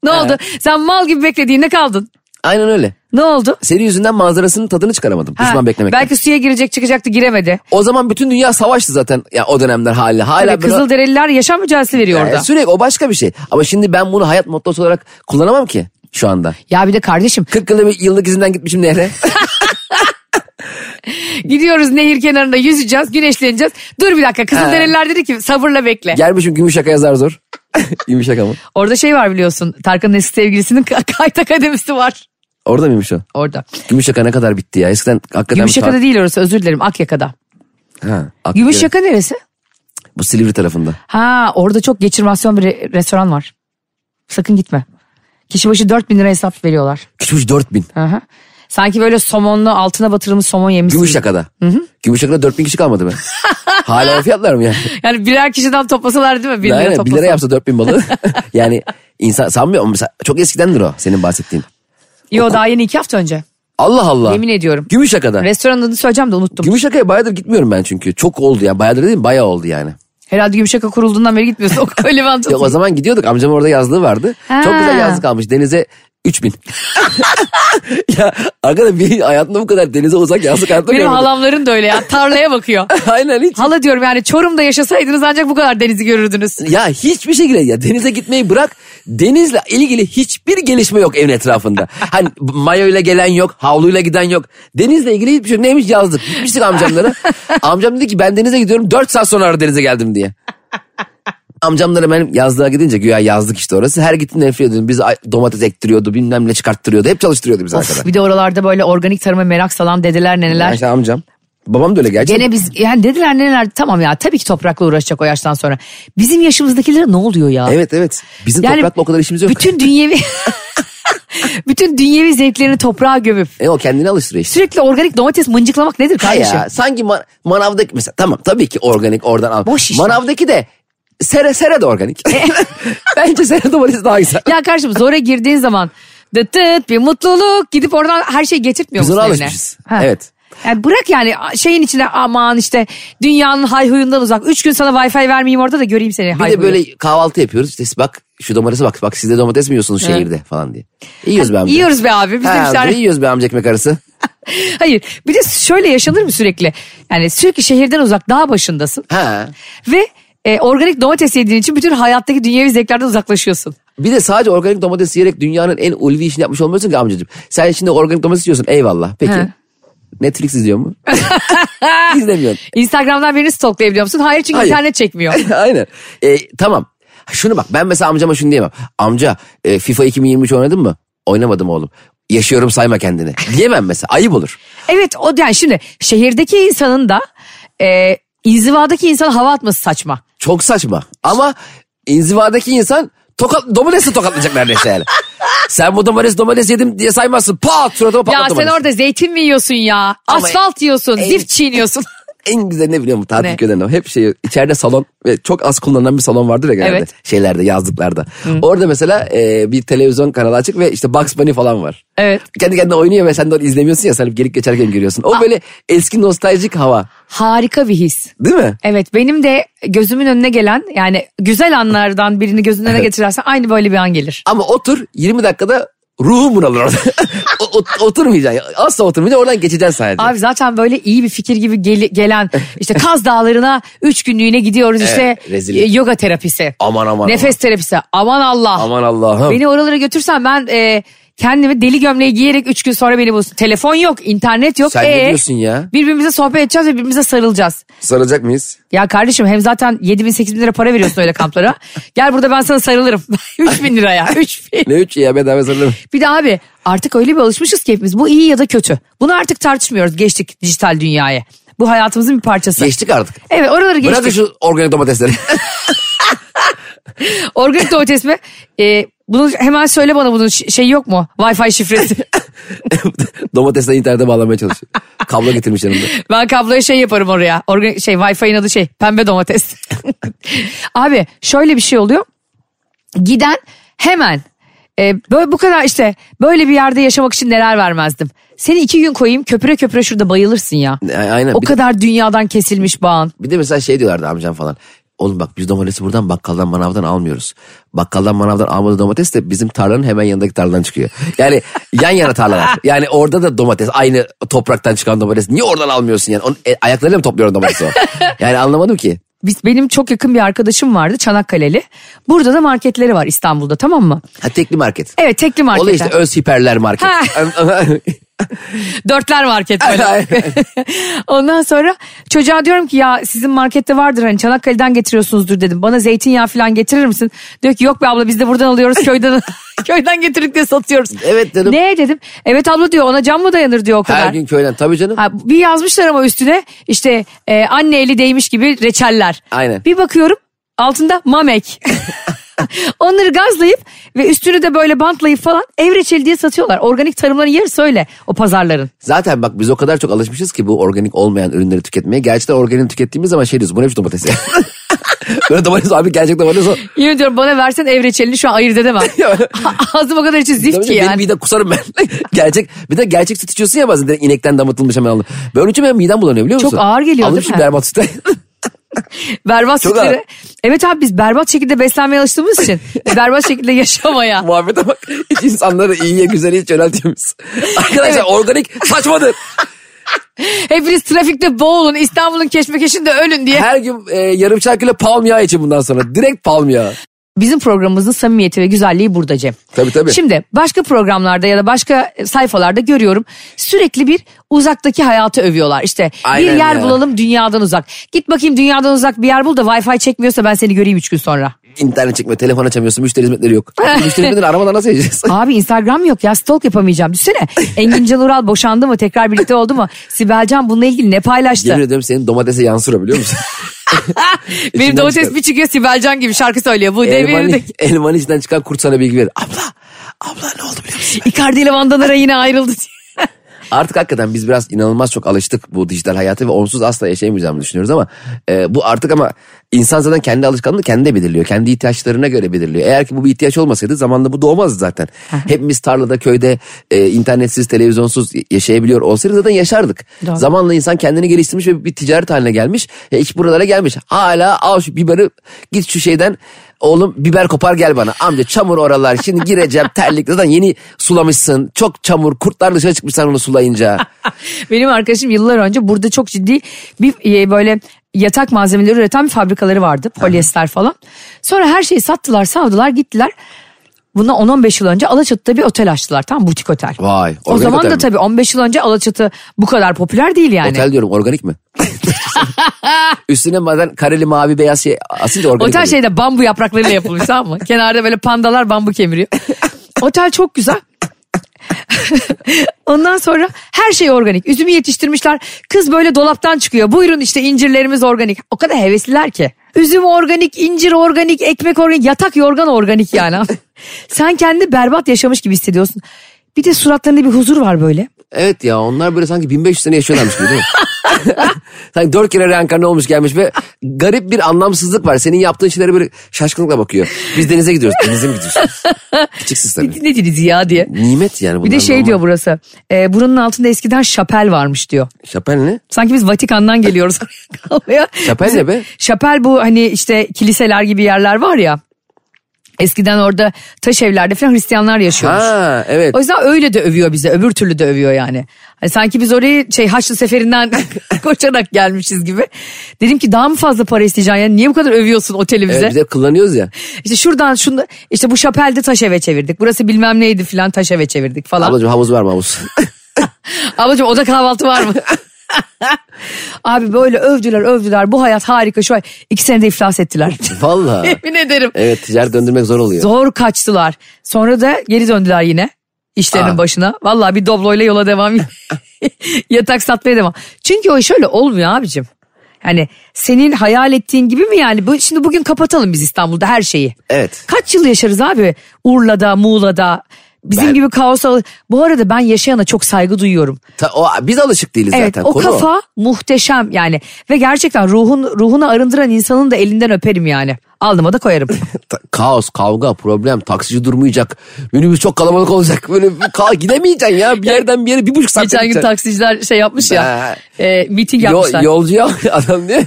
[SPEAKER 2] ne oldu? Sen mal gibi beklediğinde kaldın.
[SPEAKER 3] Aynen öyle.
[SPEAKER 2] Ne oldu?
[SPEAKER 3] Senin yüzünden manzarasının tadını çıkaramadım.
[SPEAKER 2] Ha,
[SPEAKER 3] Düşman beklemek.
[SPEAKER 2] Belki suya girecek çıkacaktı giremedi.
[SPEAKER 3] O zaman bütün dünya savaştı zaten ya o dönemler hali. Hala E,
[SPEAKER 2] Tabii
[SPEAKER 3] böyle-
[SPEAKER 2] Hani Kızılderililer yaşam mücadelesi veriyor
[SPEAKER 3] Yani
[SPEAKER 2] orada.
[SPEAKER 3] Sürekli o başka bir şey. Ama şimdi ben bunu hayat mottosu olarak kullanamam ki şu anda.
[SPEAKER 2] Ya bir de kardeşim
[SPEAKER 3] 40 yılda bir yıllık izinden
[SPEAKER 2] *laughs*
[SPEAKER 3] gitmişim nehre.
[SPEAKER 2] gidiyoruz nehir kenarında yüzeceğiz, güneşleneceğiz. Dur bir dakika Kızılderililer dedi ki sabırla bekle.
[SPEAKER 3] Gelmişim Gümüşşaka yazar zor. *laughs* Gümüşşaka mı?
[SPEAKER 2] Orada şey var biliyorsun Tarkan'ın eski sevgilisinin ka- *laughs* kayıt akademisi var.
[SPEAKER 3] Orada mıymış o?
[SPEAKER 2] Orada.
[SPEAKER 3] Gümüşşaka ne kadar bitti ya. Eskiden hakikaten...
[SPEAKER 2] Gümüşyaka'da değil orası özür dilerim Akyaka'da.
[SPEAKER 3] Ha, ak-
[SPEAKER 2] Gümüşyaka neresi?
[SPEAKER 3] Bu Silivri tarafında.
[SPEAKER 2] Ha orada çok geçirmasyon bir re- restoran var. Sakın gitme. Kişi başı 4000 lira hesap veriyorlar.
[SPEAKER 3] Küçümüş 4000.
[SPEAKER 2] Hı hı. Sanki böyle somonlu altına batırılmış somon yemişsin.
[SPEAKER 3] Gümüşşaka'da. Gümüşşaka'da 4000 kişi
[SPEAKER 2] *laughs*
[SPEAKER 3] kalmadı be. Hala o fiyatlar mı yani?
[SPEAKER 2] Yani birer kişiden toplasalar değil mi? 1 lira
[SPEAKER 3] Aynen, bir lira
[SPEAKER 2] toplasalar.
[SPEAKER 3] yapsa
[SPEAKER 2] *laughs*
[SPEAKER 3] 4000 balığı. *laughs* yani insan sanmıyorum. Mesela Çok eskidendir o senin bahsettiğin.
[SPEAKER 2] Yo daha yeni iki hafta önce.
[SPEAKER 3] Allah Allah.
[SPEAKER 2] Yemin ediyorum.
[SPEAKER 3] Gümüşşaka'da.
[SPEAKER 2] Restoranın adını söyleyeceğim de unuttum.
[SPEAKER 3] Gümüşşaka'ya bayağıdır gitmiyorum ben çünkü. Çok oldu ya. Bayağıdır dedim bayağı oldu yani.
[SPEAKER 2] Herhalde Gümüşyaka kurulduğundan beri
[SPEAKER 3] *laughs*
[SPEAKER 2] gitmiyorsun. *laughs* O öyle mantıklı.
[SPEAKER 3] Yok o zaman gidiyorduk. Amcamın orada yazlığı vardı. Çok
[SPEAKER 2] Ha.
[SPEAKER 3] güzel yazlık almış. Denize
[SPEAKER 2] *laughs*
[SPEAKER 3] 3000. *laughs* ya arkadaş bir hayatımda bu kadar denize uzak yazlık hayatta
[SPEAKER 2] Benim
[SPEAKER 3] görmedim.
[SPEAKER 2] halamların da öyle ya. Tarlaya bakıyor.
[SPEAKER 3] *laughs* Aynen hiç.
[SPEAKER 2] Hala diyorum yani Çorum'da yaşasaydınız ancak bu kadar denizi görürdünüz.
[SPEAKER 3] Ya hiçbir şekilde ya denize gitmeyi bırak. Denizle ilgili hiçbir gelişme yok evin etrafında. Hani mayoyla gelen yok, havluyla giden yok. Denizle ilgili hiçbir şey yok. Neymiş yazdık. Gitmiştik amcamlara. Amcam dedi ki ben denize gidiyorum 4 saat sonra denize geldim diye. Amcamlara ben yazlığa gidince güya yazlık işte orası. Her gittiğinde nefret ediyordum. Bizi ay- domates ektiriyordu bilmem ne çıkarttırıyordu. Hep çalıştırıyordu bizi
[SPEAKER 2] Of,
[SPEAKER 3] arkadaşlar.
[SPEAKER 2] bir de oralarda böyle organik tarıma merak salan dedeler neneler.
[SPEAKER 3] İşte amcam. Babam da öyle gerçekten.
[SPEAKER 2] Gene biz yani dediler neneler tamam ya tabii ki toprakla uğraşacak o yaştan sonra. Bizim yaşımızdakilere ne oluyor ya?
[SPEAKER 3] Evet evet. Bizim
[SPEAKER 2] Yani
[SPEAKER 3] toprakla o kadar işimiz yok.
[SPEAKER 2] Bütün
[SPEAKER 3] *laughs*
[SPEAKER 2] dünyevi *laughs* bütün dünyevi zevklerini toprağa gömüp
[SPEAKER 3] E o kendini alıştırıyor işte.
[SPEAKER 2] sürekli organik domates mıncıklamak nedir
[SPEAKER 3] Ha
[SPEAKER 2] kardeşim?
[SPEAKER 3] ya sanki ma- manavdaki mesela tamam tabii ki organik oradan al.
[SPEAKER 2] Boş işler.
[SPEAKER 3] Manavdaki de sere sere
[SPEAKER 2] *laughs*
[SPEAKER 3] de organik. Bence sere domatesi daha güzel.
[SPEAKER 2] Ya kardeşim zora girdiğin zaman dıt dıt bir mutluluk gidip oradan her şeyi getirtmiyor
[SPEAKER 3] Biz ona
[SPEAKER 2] musun eline?
[SPEAKER 3] alışmışız. Evet.
[SPEAKER 2] Yani bırak yani şeyin içine aman işte dünyanın hayhuyundan uzak. Üç gün sana wifi vermeyeyim orada da göreyim seni
[SPEAKER 3] Bir
[SPEAKER 2] hayhuyu.
[SPEAKER 3] de böyle kahvaltı yapıyoruz. İşte bak şu domatese bak. Bak sizde domates mi yiyorsunuz şehirde falan diye. Yiyoruz be amca.
[SPEAKER 2] Yiyoruz be abi. Biz de bir
[SPEAKER 3] Ha,
[SPEAKER 2] tane-
[SPEAKER 3] yiyoruz be amca ekmek arası.
[SPEAKER 2] Hayır bir de şöyle yaşanır mı sürekli? Yani sürekli şehirden uzak dağ başındasın.
[SPEAKER 3] Ha.
[SPEAKER 2] Ve e, organik domates yediğin için bütün hayattaki dünyevi zevklerden uzaklaşıyorsun.
[SPEAKER 3] Bir de sadece organik domates yiyerek dünyanın en ulvi işini yapmış olmuyorsun ki amcacığım. Sen şimdi organik domates yiyorsun eyvallah. Peki
[SPEAKER 2] Ha.
[SPEAKER 3] Netflix
[SPEAKER 2] *laughs*
[SPEAKER 3] izliyor mu? İzlemiyorsun.
[SPEAKER 2] Instagram'dan birini stalklayabiliyor musun? Hayır çünkü
[SPEAKER 3] Hayır.
[SPEAKER 2] internet çekmiyor.
[SPEAKER 3] *laughs* Aynen. E, tamam. Şunu bak ben mesela amcama şunu diyemem. Amca e, FIFA 2023 oynadın mı? Oynamadım oğlum. Yaşıyorum sayma kendini. Diyemem mesela ayıp olur.
[SPEAKER 2] Evet o yani şimdi şehirdeki insanın da e, inzivadaki insana hava atması saçma.
[SPEAKER 3] Çok saçma. Ama inzivadaki insan tokat, domatesle tokatlayacak
[SPEAKER 2] *laughs*
[SPEAKER 3] neredeyse yani. Sen bu domates domates yedim diye saymazsın. Pat suratıma patlat
[SPEAKER 2] Ya sen
[SPEAKER 3] domatesi.
[SPEAKER 2] orada zeytin mi yiyorsun ya?
[SPEAKER 3] Ama- e,
[SPEAKER 2] Asfalt yiyorsun,
[SPEAKER 3] Ey-
[SPEAKER 2] zift çiğniyorsun.
[SPEAKER 3] *laughs* En güzel ne biliyor musun tatil
[SPEAKER 2] Ne?
[SPEAKER 3] köylerinde hep şey içeride salon ve çok az kullanılan bir salon vardır ya genelde
[SPEAKER 2] Evet.
[SPEAKER 3] şeylerde yazlıklarda. Orada mesela e, bir televizyon kanalı açık ve işte Bugs Bunny falan var.
[SPEAKER 2] Evet.
[SPEAKER 3] Kendi kendine oynuyor ve sen de onu izlemiyorsun ya sen hep gelip geçerken görüyorsun. O böyle eski nostaljik hava
[SPEAKER 2] Harika bir his.
[SPEAKER 3] değil mi?
[SPEAKER 2] Evet benim de gözümün önüne gelen yani güzel anlardan birini gözünün önüne
[SPEAKER 3] Evet.
[SPEAKER 2] getirirsen aynı böyle bir an gelir.
[SPEAKER 3] Ama otur 20 dakikada ruhum bunalır orada. *laughs* O- o- oturmayacaksın. Asla oturmayacaksın. Oradan geçeceksin sadece.
[SPEAKER 2] Abi zaten böyle iyi bir fikir gibi gel-
[SPEAKER 3] *laughs*
[SPEAKER 2] gelen işte Kaz Dağları'na üç günlüğüne gidiyoruz işte
[SPEAKER 3] Evet, rezillik.
[SPEAKER 2] e, yoga terapisi.
[SPEAKER 3] Aman aman.
[SPEAKER 2] nefes terapisi. Aman Allah.
[SPEAKER 3] Aman Allah'ım.
[SPEAKER 2] Beni oralara götürsen ben e, kendimi deli gömleği giyerek üç gün sonra beni bulsun. Telefon yok, internet yok.
[SPEAKER 3] Sen ne
[SPEAKER 2] E,
[SPEAKER 3] diyorsun ya?
[SPEAKER 2] Birbirimize sohbet edeceğiz ve birbirimize sarılacağız.
[SPEAKER 3] Sarılacak mıyız?
[SPEAKER 2] Ya kardeşim hem zaten 7 bin 8 bin lira para veriyorsun öyle
[SPEAKER 3] *laughs*
[SPEAKER 2] kamplara. Gel burada ben sana sarılırım. *laughs* 3 bin lira ya 3 bin.
[SPEAKER 3] Ne üç ya bedava sarılırım.
[SPEAKER 2] Bir de abi artık öyle bir alışmışız ki hepimiz bu iyi ya da kötü. Bunu artık tartışmıyoruz geçtik dijital dünyaya. Bu hayatımızın bir parçası.
[SPEAKER 3] Geçtik artık.
[SPEAKER 2] Evet oraları geçtik.
[SPEAKER 3] Bırakın şu organik domatesleri.
[SPEAKER 2] Organik domates mi? Ee, bunu hemen söyle bana bunun ş- şey yok mu? Wi-Fi
[SPEAKER 3] *laughs*
[SPEAKER 2] şifresi.
[SPEAKER 3] Domatesleri internete bağlamaya çalışıyor. Kablo getirmiş yanımda.
[SPEAKER 2] ben kabloya şey yaparım oraya. Organik şey Wi-Fi'nin adı şey pembe domates. *laughs* Abi şöyle bir şey oluyor. Giden hemen e, böyle bu kadar işte böyle bir yerde yaşamak için neler vermezdim. Seni iki gün koyayım köpüre köpüre şurada bayılırsın ya.
[SPEAKER 3] A- E, Aynen.
[SPEAKER 2] O
[SPEAKER 3] bir,
[SPEAKER 2] kadar dünyadan kesilmiş bağın.
[SPEAKER 3] bir de mesela şey diyorlardı amcam falan. Oğlum bak biz domatesi buradan bakkaldan manavdan almıyoruz. Bakkaldan manavdan almadığı domates de bizim tarlanın hemen yanındaki tarladan çıkıyor. Yani yan yana tarlalar. Yani orada da domates aynı topraktan çıkan domates. Niye oradan almıyorsun yani? Onun, e, ayaklarıyla mı topluyorsun domatesi o? Yani anlamadım ki.
[SPEAKER 2] Biz, benim çok yakın bir arkadaşım vardı Çanakkale'li. Burada da marketleri var İstanbul'da tamam mı?
[SPEAKER 3] Ha tekli market.
[SPEAKER 2] Evet tekli marketler.
[SPEAKER 3] Olay işte öz hiperler market. *laughs*
[SPEAKER 2] Dörtler market böyle. Ondan sonra çocuğa diyorum ki ya sizin markette vardır hani Çanakkale'den getiriyorsunuzdur dedim. Bana zeytinyağı falan getirir misin? Diyor ki yok be abla biz de buradan
[SPEAKER 3] *laughs*
[SPEAKER 2] alıyoruz köyden *laughs* köyden getirdik diye satıyoruz.
[SPEAKER 3] Evet dedim.
[SPEAKER 2] Ne dedim? Evet abla diyor ona can mı dayanır diyor o kadar.
[SPEAKER 3] Her gün köyden tabii canım.
[SPEAKER 2] Ha, bir yazmışlar ama üstüne işte e, anne eli değmiş gibi reçeller.
[SPEAKER 3] Aynen.
[SPEAKER 2] Bir bakıyorum altında
[SPEAKER 3] *laughs*
[SPEAKER 2] mamek. Onları gazlayıp ve üstünü de böyle bantlayıp falan ev reçeli diye satıyorlar. Organik tarımların yarısı öyle o pazarların.
[SPEAKER 3] Zaten bak biz o kadar çok alışmışız ki bu organik olmayan ürünleri tüketmeye. Gerçekten organik tükettiğimiz zaman şey diyoruz. Bu ne biçim domates ya? *laughs* Böyle domates abi gerçek domates o.
[SPEAKER 2] Yemin ediyorum bana versen ev reçelini şu an ayırt
[SPEAKER 3] *laughs*
[SPEAKER 2] edemem. Ağzım o kadar içi zift ki
[SPEAKER 3] Benim
[SPEAKER 2] şey yani.
[SPEAKER 3] midem kusarım ben. *laughs* gerçek. Bir de gerçek süt içiyorsun ya bazen direkt inekten damıtılmış hemen alın. Ben onun için benim midem bulanıyor biliyor
[SPEAKER 2] Çok
[SPEAKER 3] musun?
[SPEAKER 2] ağır geliyor
[SPEAKER 3] Alın
[SPEAKER 2] değil
[SPEAKER 3] şu
[SPEAKER 2] mi?
[SPEAKER 3] berbat sütten.
[SPEAKER 2] Berbat
[SPEAKER 3] Çok
[SPEAKER 2] sütleri.
[SPEAKER 3] ağır.
[SPEAKER 2] Evet abi biz berbat şekilde beslenmeye alıştığımız
[SPEAKER 3] *laughs*
[SPEAKER 2] için berbat şekilde yaşamaya.
[SPEAKER 3] *laughs* Muhabbete bak. Hiç insanları iyiye güzeli
[SPEAKER 2] *laughs*
[SPEAKER 3] hiç yöneltiyoruz. Arkadaşlar organik saçmadır.
[SPEAKER 2] Hepiniz trafikte boğulun İstanbul'un keşmekeşinde ölün diye.
[SPEAKER 3] Her gün e, yarım çay kilo palm yağı için bundan sonra. Direkt palm yağı.
[SPEAKER 2] Bizim programımızın samimiyeti ve güzelliği burada Cem.
[SPEAKER 3] Tabii, tabii.
[SPEAKER 2] Şimdi başka programlarda ya da başka sayfalarda görüyorum sürekli bir uzaktaki hayatı övüyorlar. İşte
[SPEAKER 3] Aynen
[SPEAKER 2] bir yer
[SPEAKER 3] ya.
[SPEAKER 2] bulalım dünyadan uzak. Git bakayım dünyadan uzak bir yer bul da wifi çekmiyorsa ben seni göreyim üç gün sonra.
[SPEAKER 3] İnternet çekmiyor, telefon açamıyorsun, müşteri
[SPEAKER 2] *laughs*
[SPEAKER 3] hizmetleri yok. müşteri hizmetleri aramadan nasıl edeceğiz?
[SPEAKER 2] Abi Instagram yok ya stalk yapamayacağım. Düşsene Engin Can Ural boşandı mı tekrar birlikte oldu mu? Sibel Can bununla ilgili ne
[SPEAKER 3] Yemin
[SPEAKER 2] paylaştı?
[SPEAKER 3] ediyorum senin domatese yansır biliyor musun?
[SPEAKER 2] Benim
[SPEAKER 3] içinden
[SPEAKER 2] domates
[SPEAKER 3] çıkar.
[SPEAKER 2] bir çıkıyor Sibel Can gibi şarkı söylüyor. Bu
[SPEAKER 3] elmanın,
[SPEAKER 2] devirde
[SPEAKER 3] elmanın içinden çıkan kurt sana bilgi verir. Abla, abla ne oldu biliyor musun?
[SPEAKER 2] Icardi ile Vandanara yine ayrıldı diye.
[SPEAKER 3] Artık hakikaten biz biraz inanılmaz çok alıştık bu dijital hayata ve onsuz asla yaşayamayacağımızı düşünüyoruz ama e, bu artık ama insan zaten kendi alışkanlığını kendi belirliyor. Kendi ihtiyaçlarına göre belirliyor. Eğer ki bu bir ihtiyaç olmasaydı zamanında bu doğmazdı zaten. Hepimiz tarlada, köyde e, internetsiz, televizyonsuz yaşayabiliyor olsaydı zaten yaşardık.
[SPEAKER 2] Doğru.
[SPEAKER 3] Zamanla insan kendini geliştirmiş ve bir ticaret haline gelmiş. E, iş buralara gelmiş. Hala al şu biberi git şu şeyden Oğlum biber kopar gel bana. Amca çamur oralar. Şimdi gireceğim terlikle. Zaten yeni sulamışsın. Çok çamur. Kurtlar dışarı çıkmış sen onu sulayınca.
[SPEAKER 2] Benim arkadaşım yıllar önce burada çok ciddi bir e, böyle yatak malzemeleri üreten bir fabrikaları vardı. Polyester falan. Sonra her şeyi sattılar, savdılar, gittiler. Buna 10-15 yıl önce Alaçatı'da bir otel açtılar. Tam butik otel.
[SPEAKER 3] Vay,
[SPEAKER 2] O
[SPEAKER 3] organik
[SPEAKER 2] zaman
[SPEAKER 3] otel
[SPEAKER 2] da
[SPEAKER 3] mi?
[SPEAKER 2] tabii 15 yıl önce Alaçatı bu kadar popüler değil yani.
[SPEAKER 3] Otel diyorum organik mi? Üstüne madem kareli mavi beyaz şey asınca organik
[SPEAKER 2] Otel
[SPEAKER 3] oluyor.
[SPEAKER 2] şeyde bambu yapraklarıyla yapılmış tamam mı? Kenarda böyle pandalar bambu kemiriyor. Otel çok güzel. *laughs* Ondan sonra her şey organik. Üzümü yetiştirmişler. Kız böyle dolaptan çıkıyor. Buyurun işte incirlerimiz organik. O kadar hevesliler ki. Üzüm organik, incir organik, ekmek organik, yatak yorgan organik yani. *laughs* Sen kendi berbat yaşamış gibi hissediyorsun. Bir de suratlarında bir huzur var böyle.
[SPEAKER 3] Evet ya onlar böyle sanki 1500 sene yaşıyorlarmış gibi
[SPEAKER 2] *laughs*
[SPEAKER 3] değil mi? sanki dört kere reenkarne olmuş gelmiş ve garip bir anlamsızlık var. Senin yaptığın şeylere böyle şaşkınlıkla bakıyor. Biz denize gidiyoruz. Denize mi gidiyorsunuz? Küçüksüz tabii.
[SPEAKER 2] Ne diriz ya diye.
[SPEAKER 3] Nimet yani
[SPEAKER 2] Bir
[SPEAKER 3] bunlar
[SPEAKER 2] de şey
[SPEAKER 3] normal.
[SPEAKER 2] diyor burası. E, burunun altında eskiden şapel varmış diyor.
[SPEAKER 3] Şapel ne?
[SPEAKER 2] Sanki biz Vatikan'dan
[SPEAKER 3] *laughs*
[SPEAKER 2] geliyoruz. Kalmaya.
[SPEAKER 3] Şapel ne be?
[SPEAKER 2] Şapel bu hani işte kiliseler gibi yerler var ya. Eskiden orada taş evlerde falan Hristiyanlar yaşıyormuş.
[SPEAKER 3] Ha evet.
[SPEAKER 2] O yüzden öyle de övüyor bize. Öbür türlü de övüyor yani. Hani sanki biz orayı şey Haçlı Seferi'nden *laughs* koşarak gelmişiz gibi. Dedim ki daha mı fazla para isteyeceksin ya? Niye bu kadar övüyorsun oteli bize?
[SPEAKER 3] Evet, biz hep kullanıyoruz ya.
[SPEAKER 2] İşte şuradan şunu işte bu şapelde taş eve çevirdik. Burası bilmem neydi filan taş eve çevirdik falan.
[SPEAKER 3] Ablacığım havuz var
[SPEAKER 2] *laughs*
[SPEAKER 3] mı havuz?
[SPEAKER 2] Ablacığım oda kahvaltı var mı? *laughs* Abi böyle övdüler övdüler bu hayat harika şu ay. İki senede iflas ettiler. *laughs*
[SPEAKER 3] Valla.
[SPEAKER 2] Yemin ederim.
[SPEAKER 3] Evet ticaret döndürmek zor oluyor.
[SPEAKER 2] Zor kaçtılar. Sonra da geri döndüler yine işlerinin
[SPEAKER 3] Aa.
[SPEAKER 2] başına. Vallahi bir dobloyla yola *laughs* devam. Yatak satmaya devam. Çünkü o iş öyle olmuyor abicim. Yani senin hayal ettiğin gibi mi yani? Bu, şimdi bugün kapatalım biz İstanbul'da her şeyi.
[SPEAKER 3] Evet.
[SPEAKER 2] Kaç yıl yaşarız abi? Urla'da, Muğla'da. Bizim
[SPEAKER 3] Ben-
[SPEAKER 2] gibi kaosa. Bu arada ben yaşayana çok saygı duyuyorum.
[SPEAKER 3] Ta- o, biz alışık değiliz
[SPEAKER 2] Evet
[SPEAKER 3] zaten.
[SPEAKER 2] o
[SPEAKER 3] Konu
[SPEAKER 2] kafa muhteşem yani. Ve gerçekten ruhun ruhunu arındıran insanın da elinden öperim yani. Alnıma da
[SPEAKER 3] *laughs*
[SPEAKER 2] koyarım.
[SPEAKER 3] Ta- kaos, kavga, problem, taksici durmayacak. Minibüs çok kalabalık olacak. Böyle bir ka- gidemeyeceksin ya. Bir yerden bir yere bir buçuk saat
[SPEAKER 2] Geçen gün
[SPEAKER 3] gideceksin.
[SPEAKER 2] taksiciler şey yapmış ya.
[SPEAKER 3] Be.
[SPEAKER 2] E, miting
[SPEAKER 3] Yo-
[SPEAKER 2] yapmışlar.
[SPEAKER 3] yolcuyu al- *laughs* adam ne?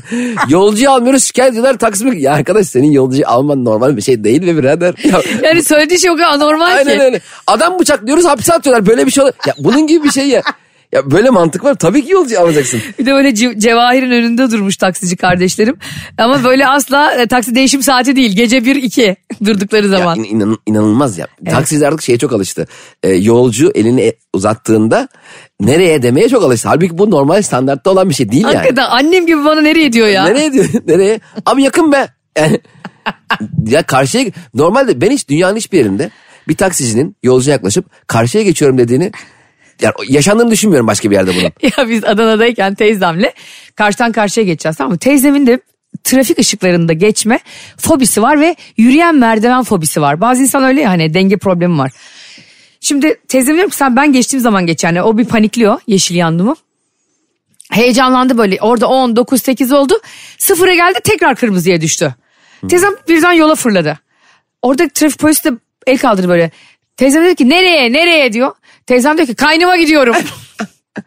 [SPEAKER 3] yolcuyu almıyoruz şikayet ediyorlar taksimi. Ya arkadaş senin yolcuyu alman normal bir şey değil mi
[SPEAKER 2] *laughs*
[SPEAKER 3] birader? Ya,
[SPEAKER 2] Yani söylediği şey o kadar anormal
[SPEAKER 3] aynen
[SPEAKER 2] ki.
[SPEAKER 3] öyle. Adam bıçaklıyoruz hapse atıyorlar. Böyle bir şey olur. Ya bunun gibi bir şey ya. Ya böyle mantık var. Tabii ki yolcuyu alacaksın.
[SPEAKER 2] Bir de böyle ce- Cevahir'in önünde durmuş taksici kardeşlerim. Ama böyle asla e, taksi değişim saati değil. Gece 1-2 *laughs* durdukları
[SPEAKER 3] Ya
[SPEAKER 2] zaman.
[SPEAKER 3] in- inan- inanılmaz ya. Taksiciler artık şeye çok alıştı. Ee, yolcu elini e- uzattığında nereye demeye çok alıştı. Halbuki bu normal standartta olan bir şey değil yani.
[SPEAKER 2] Hakikaten annem gibi bana nereye diyor ya. *laughs*
[SPEAKER 3] Nereye diyor? Nereye? Abi yakın be. *laughs* Yani, ya karşıya normalde ben hiç dünyanın hiçbir yerinde bir taksicinin yolcuya yaklaşıp karşıya geçiyorum dediğini yani yaşandığını düşünmüyorum başka bir yerde bunun.
[SPEAKER 2] *laughs* Ya biz Adana'dayken teyzemle karşıdan karşıya geçeceğiz tamam mı? Teyzemin de trafik ışıklarında geçme fobisi var ve yürüyen merdiven fobisi var. Bazı insan öyle ya hani denge problemi var. Şimdi teyzem diyorum ki sen ben geçtiğim zaman geç yani o bir panikliyor yeşil yandı mı? Heyecanlandı böyle orada 10, 9, 8 oldu. Sıfıra geldi tekrar kırmızıya düştü. Teyzem birden yola fırladı. Orada trafik polisi de el kaldırdı böyle. Teyzem dedi ki nereye nereye diyor. Teyzem diyor ki kaynıma gidiyorum.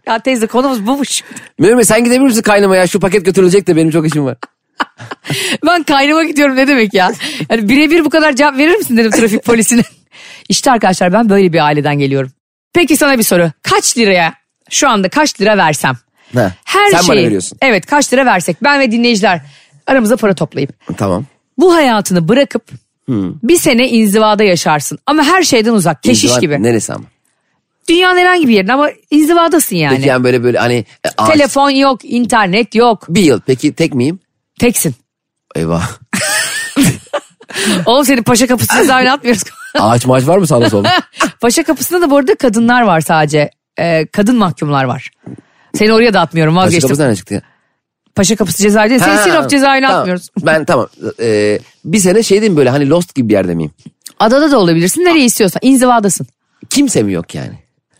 [SPEAKER 2] Ya teyze konumuz bumuş.
[SPEAKER 3] Mehmet sen gidebilir misin kaynamaya? Şu paket götürülecek de benim çok işim var.
[SPEAKER 2] *laughs* Ben kaynama gidiyorum ne demek ya? Yani birebir bu kadar cevap verir misin dedim trafik
[SPEAKER 3] *laughs*
[SPEAKER 2] polisine. işte arkadaşlar ben böyle bir aileden geliyorum. Peki sana bir soru. Kaç liraya şu anda kaç lira versem?
[SPEAKER 3] Ha,
[SPEAKER 2] Her şey
[SPEAKER 3] sen
[SPEAKER 2] şeyi,
[SPEAKER 3] bana veriyorsun.
[SPEAKER 2] Evet kaç lira versek ben ve dinleyiciler aramıza para toplayıp
[SPEAKER 3] Tamam.
[SPEAKER 2] bu hayatını bırakıp
[SPEAKER 3] Hmm.
[SPEAKER 2] bir sene inzivada yaşarsın. Ama her şeyden uzak keşiş
[SPEAKER 3] İnziva
[SPEAKER 2] gibi.
[SPEAKER 3] Neresi ama?
[SPEAKER 2] Dünyanın herhangi bir yerinde ama inzivadasın yani.
[SPEAKER 3] Peki yani böyle böyle hani e, ağaç-
[SPEAKER 2] Telefon yok, internet yok,
[SPEAKER 3] Bir yıl. Peki tek miyim?
[SPEAKER 2] teksin. *laughs*
[SPEAKER 3] Eyvah.
[SPEAKER 2] Oğlum seni paşa kapısı
[SPEAKER 3] *laughs*
[SPEAKER 2] cezaevine atmıyoruz.
[SPEAKER 3] Ağaç maaş var mı
[SPEAKER 2] *laughs*
[SPEAKER 3] sağda solda?
[SPEAKER 2] Paşa kapısında da bu arada kadınlar var sadece. Ee, kadın mahkumlar var. Seni oraya da atmıyorum
[SPEAKER 3] Ağaç
[SPEAKER 2] vazgeçtim. Paşa,
[SPEAKER 3] kapısından çıktı ya.
[SPEAKER 2] kapısı cezaevi değil. Seni
[SPEAKER 3] Ha,
[SPEAKER 2] Sinop cezaevine
[SPEAKER 3] tamam.
[SPEAKER 2] atmıyoruz.
[SPEAKER 3] Ben tamam. Ee, bir sene şey diyeyim böyle hani Lost gibi bir yerde miyim?
[SPEAKER 2] Adada da olabilirsin. Nereye istiyorsan. İnzivadasın.
[SPEAKER 3] Kimse mi yok yani?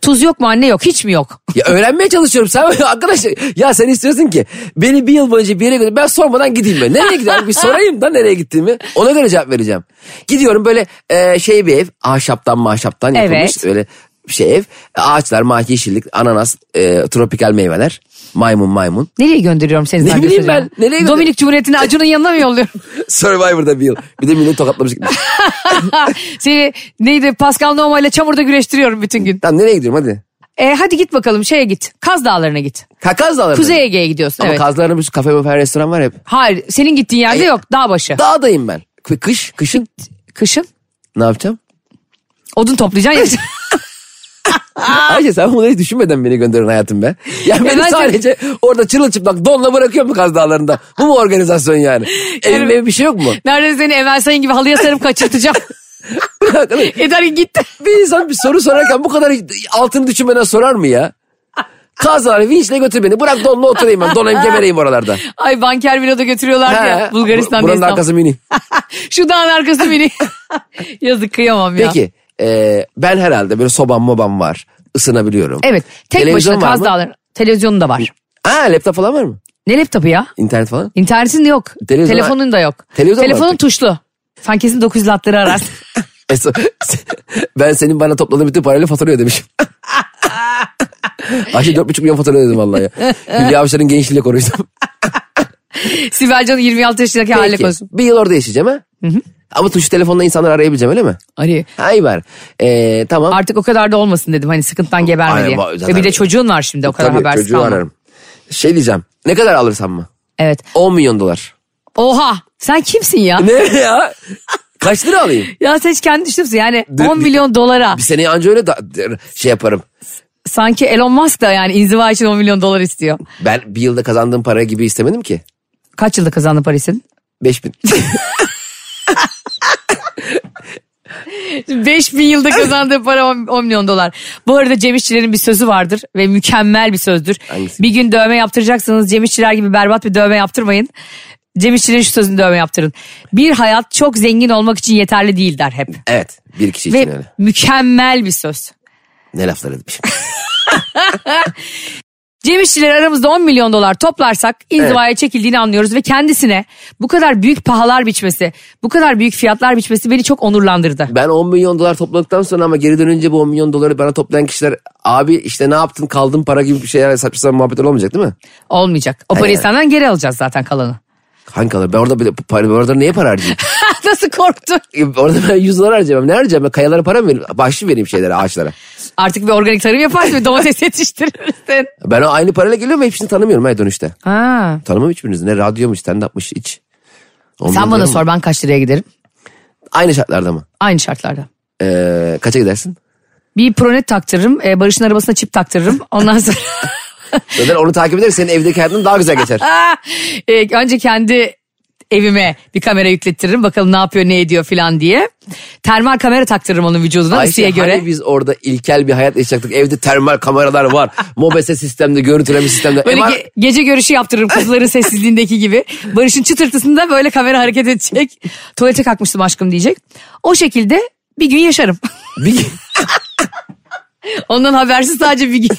[SPEAKER 2] Tuz yok mu anne yok. Hiç mi yok?
[SPEAKER 3] Ya öğrenmeye çalışıyorum sen *laughs* arkadaş ya sen istiyorsun ki beni bir yıl boyunca bir yere götür ben sormadan gideyim ben nereye gidiyorum bir sorayım da nereye gittiğimi ona göre cevap vereceğim. Gidiyorum böyle e, şey bir ev ahşaptan mahşaptan yapılmış
[SPEAKER 2] Evet.
[SPEAKER 3] öyle bir şey ev ağaçlar mahi yeşillik ananas e, tropikal meyveler maymun maymun
[SPEAKER 2] Nereye gönderiyorum seni?
[SPEAKER 3] Ne
[SPEAKER 2] zannediyorsun
[SPEAKER 3] bileyim ben,
[SPEAKER 2] acaba?
[SPEAKER 3] nereye gönderiyorum?
[SPEAKER 2] Dominik Cumhuriyeti'ne Acun'un yanına mı
[SPEAKER 3] *laughs*
[SPEAKER 2] yolluyorum? *laughs*
[SPEAKER 3] Survivor'da bir yıl bir de millet tokatlamış gitmiş.
[SPEAKER 2] seni neydi Pascal Noma ile çamurda güreştiriyorum bütün gün.
[SPEAKER 3] Tamam nereye gidiyorum hadi.
[SPEAKER 2] E, hadi git bakalım şeye git. Kaz Dağları'na git.
[SPEAKER 3] Kakaz Dağları'na.
[SPEAKER 2] Kuzey Ege'ye gidiyorsun.
[SPEAKER 3] Ama
[SPEAKER 2] evet.
[SPEAKER 3] Kazlar'ın bir sürü kafe möfer restoran var hep.
[SPEAKER 2] Hayır senin gittiğin yerde
[SPEAKER 3] Ay-
[SPEAKER 2] yok. Dağ başı.
[SPEAKER 3] Dağdayım ben. Kı- Kış, kışın
[SPEAKER 2] Kışın
[SPEAKER 3] ne yapacağım?
[SPEAKER 2] odun
[SPEAKER 3] *laughs*
[SPEAKER 2] toplayacaksın. ya.
[SPEAKER 3] Ayşe sen bunları hiç düşünmeden beni gönderin hayatım be. Ya beni
[SPEAKER 2] ben-
[SPEAKER 3] sadece orada çırılçıplak donla bırakıyor mu Kaz Dağları'nda? Bu mu organizasyon *laughs* yani? Evim bir şey yok mu?
[SPEAKER 2] Neredeyse seni Emel Sayın gibi halıya sarıp
[SPEAKER 3] *laughs*
[SPEAKER 2] kaçırtacağım.
[SPEAKER 3] Arkadaş,
[SPEAKER 2] Yeter ki git.
[SPEAKER 3] bir insan bir soru sorarken bu kadar altını düşünmeden sorar mı ya? Kaz Dağları vinçle götür beni. Bırak donla oturayım ben. *laughs* Donayım gebereyim oralarda.
[SPEAKER 2] Ay banker villa da götürüyorlardı ya
[SPEAKER 3] He,
[SPEAKER 2] Bulgaristan'da
[SPEAKER 3] Buranın
[SPEAKER 2] İstanbul.
[SPEAKER 3] arkası mini.
[SPEAKER 2] Şu dağın arkası
[SPEAKER 3] *laughs*
[SPEAKER 2] beni. Yazık kıyamam ya.
[SPEAKER 3] Peki e, ben herhalde böyle sobam mobam var. Isınabiliyorum.
[SPEAKER 2] Evet tek
[SPEAKER 3] Televizyon
[SPEAKER 2] başına
[SPEAKER 3] var
[SPEAKER 2] Kaz
[SPEAKER 3] mı?
[SPEAKER 2] Dağları. Televizyonu da var.
[SPEAKER 3] Aa laptop falan var mı?
[SPEAKER 2] Ne laptopu ya?
[SPEAKER 3] İnternet falan?
[SPEAKER 2] İnternetin de yok.
[SPEAKER 3] Televizyon-
[SPEAKER 2] Telefonun da yok.
[SPEAKER 3] Televizyon var
[SPEAKER 2] Telefonun
[SPEAKER 3] artık.
[SPEAKER 2] tuşlu. Sen kesin 900 latları
[SPEAKER 3] *laughs*
[SPEAKER 2] ararsın.
[SPEAKER 3] E, so- ben senin bana topladığın bütün parayla
[SPEAKER 2] *laughs*
[SPEAKER 3] fatura ödemişim. Ayşe 4,5 milyon fatura ödedim vallahi ya.
[SPEAKER 2] *laughs*
[SPEAKER 3] Hülya Avşar'ın gençliğiyle konuştum.
[SPEAKER 2] Sibel Can'ın 26 yaşındaki haline
[SPEAKER 3] Peki,
[SPEAKER 2] koysun.
[SPEAKER 3] bir yıl orada yaşayacağım ha. Ama tuşlu telefonla insanları arayabileceğim öyle mi?
[SPEAKER 2] Arıyor.
[SPEAKER 3] Ha iyi bari. Ee, tamam.
[SPEAKER 2] Artık o kadar da olmasın dedim hani sıkıntıdan geberme
[SPEAKER 3] Aynen,
[SPEAKER 2] diye.
[SPEAKER 3] ba- zaten-
[SPEAKER 2] Ve bir de çocuğun var şimdi o kadar
[SPEAKER 3] Tabii
[SPEAKER 2] habersiz
[SPEAKER 3] çocuğu
[SPEAKER 2] kalma.
[SPEAKER 3] ararım. Şey diyeceğim. Ne kadar alırsam mı?
[SPEAKER 2] Evet.
[SPEAKER 3] 10 milyon dolar.
[SPEAKER 2] Oha sen kimsin ya?
[SPEAKER 3] Ne ya? Kaç lira alayım?
[SPEAKER 2] Ya sen hiç kendi düşünürsün yani
[SPEAKER 3] Dur,
[SPEAKER 2] 10
[SPEAKER 3] bir-
[SPEAKER 2] milyon dolara
[SPEAKER 3] Bir seneye anca öyle da, şey yaparım.
[SPEAKER 2] sanki Elon Musk da yani inziva için 10 milyon dolar istiyor.
[SPEAKER 3] Ben bir yılda kazandığım para gibi istemedim ki.
[SPEAKER 2] Kaç yılda kazandı Paris'in? *laughs*
[SPEAKER 3] 5000.
[SPEAKER 2] 5000 yılda kazandığı para 10, milyon dolar. Bu arada Cem İşçilerin bir sözü vardır ve mükemmel bir sözdür.
[SPEAKER 3] Hangisi?
[SPEAKER 2] Bir gün dövme yaptıracaksanız Cem İşçiler gibi berbat bir dövme yaptırmayın. Cem İşçilerin şu sözünü dövme yaptırın. Bir hayat çok zengin olmak için yeterli değil der hep.
[SPEAKER 3] evet. Bir kişi için
[SPEAKER 2] Ve
[SPEAKER 3] öyle.
[SPEAKER 2] mükemmel bir söz.
[SPEAKER 3] Ne laflar etmişim.
[SPEAKER 2] Cem İşçileri aramızda 10 milyon dolar toplarsak inzivaya çekildiğini anlıyoruz ve kendisine bu kadar büyük pahalar biçmesi, bu kadar büyük fiyatlar biçmesi beni çok onurlandırdı.
[SPEAKER 3] Ben 10 milyon dolar topladıktan sonra ama geri dönünce bu 10 milyon doları bana toplayan kişiler abi işte ne yaptın kaldın para gibi bir şeyler saçma sapan muhabbetler olmayacak değil mi?
[SPEAKER 2] Olmayacak. O parayı
[SPEAKER 3] Hayır.
[SPEAKER 2] senden geri alacağız zaten kalanı.
[SPEAKER 3] Hangi kalır? Ben orada bile para, ben orada neye para harcayayım?
[SPEAKER 2] *laughs*
[SPEAKER 3] *laughs*
[SPEAKER 2] Nasıl korktun?
[SPEAKER 3] E, orada ben 100 dolar harcayacağım. Ne harcayacağım? Ben kayalara para mı vereyim? Bahşiş vereyim şeylere, ağaçlara.
[SPEAKER 2] Artık bir organik tarım yaparsın ve domates yetiştirirsin.
[SPEAKER 3] Ben o aynı parayla geliyorum ama hepsini tanımıyorum hayır dönüşte.
[SPEAKER 2] *laughs* Ha.
[SPEAKER 3] Tanımam hiçbirinizi. Ne radyomuş, stand-up'mış hiç. On
[SPEAKER 2] Sen
[SPEAKER 3] milyon
[SPEAKER 2] bana
[SPEAKER 3] dolar mı?
[SPEAKER 2] sor ben kaç liraya giderim?
[SPEAKER 3] Aynı şartlarda mı?
[SPEAKER 2] Aynı şartlarda.
[SPEAKER 3] Ee, kaça gidersin?
[SPEAKER 2] Bir pronet taktırırım. e, Barış'ın arabasına çip taktırırım. Ondan sonra
[SPEAKER 3] Zaten onu takip ederiz. Senin evdeki hayatın daha güzel geçer.
[SPEAKER 2] e, önce kendi evime bir kamera yüklettiririm. Bakalım ne yapıyor ne ediyor filan diye. Termal kamera taktırırım onun vücuduna ısıya
[SPEAKER 3] hani
[SPEAKER 2] göre.
[SPEAKER 3] biz orada ilkel bir hayat yaşayacaktık. Evde termal kameralar
[SPEAKER 2] *laughs*
[SPEAKER 3] var. Mobese sistemde, görüntüleme sistemde.
[SPEAKER 2] Böyle
[SPEAKER 3] MR
[SPEAKER 2] ge- gece görüşü yaptırırım kuzuların sessizliğindeki gibi. Barış'ın çıtırtısında böyle kamera hareket edecek. Tuvalete kalkmıştım aşkım diyecek. O şekilde bir gün yaşarım.
[SPEAKER 3] *laughs*
[SPEAKER 2] *laughs*
[SPEAKER 3] bir-
[SPEAKER 2] Ondan habersiz sadece bir gün. *laughs*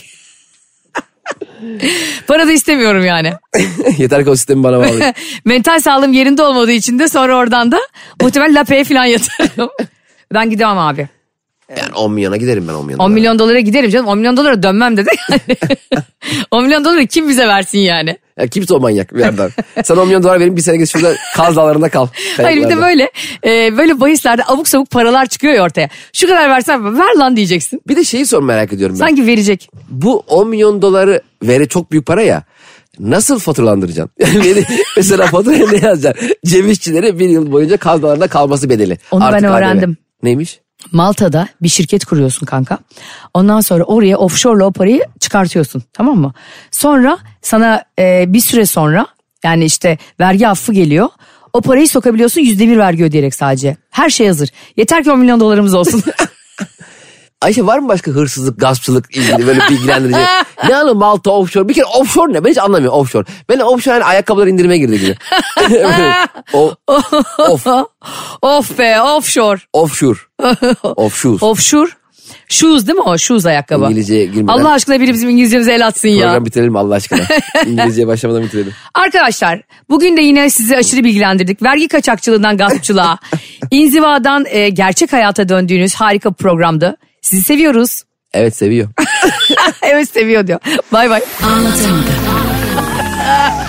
[SPEAKER 2] Para da istemiyorum yani.
[SPEAKER 3] *laughs*
[SPEAKER 2] *laughs*
[SPEAKER 3] Yeter ki o sistemi bana bağlı.
[SPEAKER 2] Mental sağlığım yerinde olmadığı için de sonra oradan da muhtemelen lapeye falan yatarım. *laughs* ben gidemem abi.
[SPEAKER 3] Yani 10 milyona giderim ben 10 milyona.
[SPEAKER 2] 10 milyon dolara giderim canım. 10 milyon dolara dönmem dedi. Yani. 10 milyon doları kim bize versin yani?
[SPEAKER 3] Ya kimse o manyak bir yerden. Sana 10 milyon dolar vereyim bir sene git şurada Kaz Dağları'nda kal.
[SPEAKER 2] Hayır bir de
[SPEAKER 3] Kayaklarda.
[SPEAKER 2] böyle e, böyle bahislerde abuk sabuk paralar çıkıyor ya ortaya. Şu kadar versen ver lan diyeceksin.
[SPEAKER 3] Bir de şeyi sor merak ediyorum ben.
[SPEAKER 2] Sanki verecek.
[SPEAKER 3] Bu 10 milyon doları vere çok büyük para ya. Nasıl faturalandıracaksın? *laughs* Yani beni- mesela faturaya ne yazacaksın? Cem İşçilere bir yıl boyunca Kaz Dağları'nda kalması bedeli.
[SPEAKER 2] Onu ben
[SPEAKER 3] KDV.
[SPEAKER 2] öğrendim.
[SPEAKER 3] Neymiş?
[SPEAKER 2] Malta'da bir şirket kuruyorsun kanka. Ondan sonra oraya offshore'la o parayı çıkartıyorsun tamam mı? Sonra sana e, bir süre sonra yani işte vergi affı geliyor. O parayı sokabiliyorsun yüzde bir vergi ödeyerek sadece. Her şey hazır. Yeter ki 10 milyon dolarımız olsun.
[SPEAKER 3] Ayşe var mı başka hırsızlık, gaspçılık ilgili böyle bilgilendirici? ne anı Malta offshore? Bir kere offshore ne? Ben hiç anlamıyorum offshore. Ben offshore hani ayakkabıları indirime girdi gibi. o, off,
[SPEAKER 2] of be offshore.
[SPEAKER 3] offshore. Offshore.
[SPEAKER 2] Offshore. Shoes değil mi o? Shoes ayakkabı.
[SPEAKER 3] İngilizceye girmeden.
[SPEAKER 2] Allah aşkına biri bizim İngilizcemize el atsın ya.
[SPEAKER 3] Program bitirelim mi Allah aşkına. İngilizceye başlamadan bitirelim.
[SPEAKER 2] Arkadaşlar bugün de yine sizi aşırı bilgilendirdik. Vergi kaçakçılığından
[SPEAKER 3] *laughs*
[SPEAKER 2] gaspçılığa, inzivadan e, gerçek hayata döndüğünüz harika bir programdı. Sizi seviyoruz. *laughs*
[SPEAKER 3] Evet seviyor.
[SPEAKER 2] evet seviyor diyor. Bay bay.
[SPEAKER 4] Anlatamadım.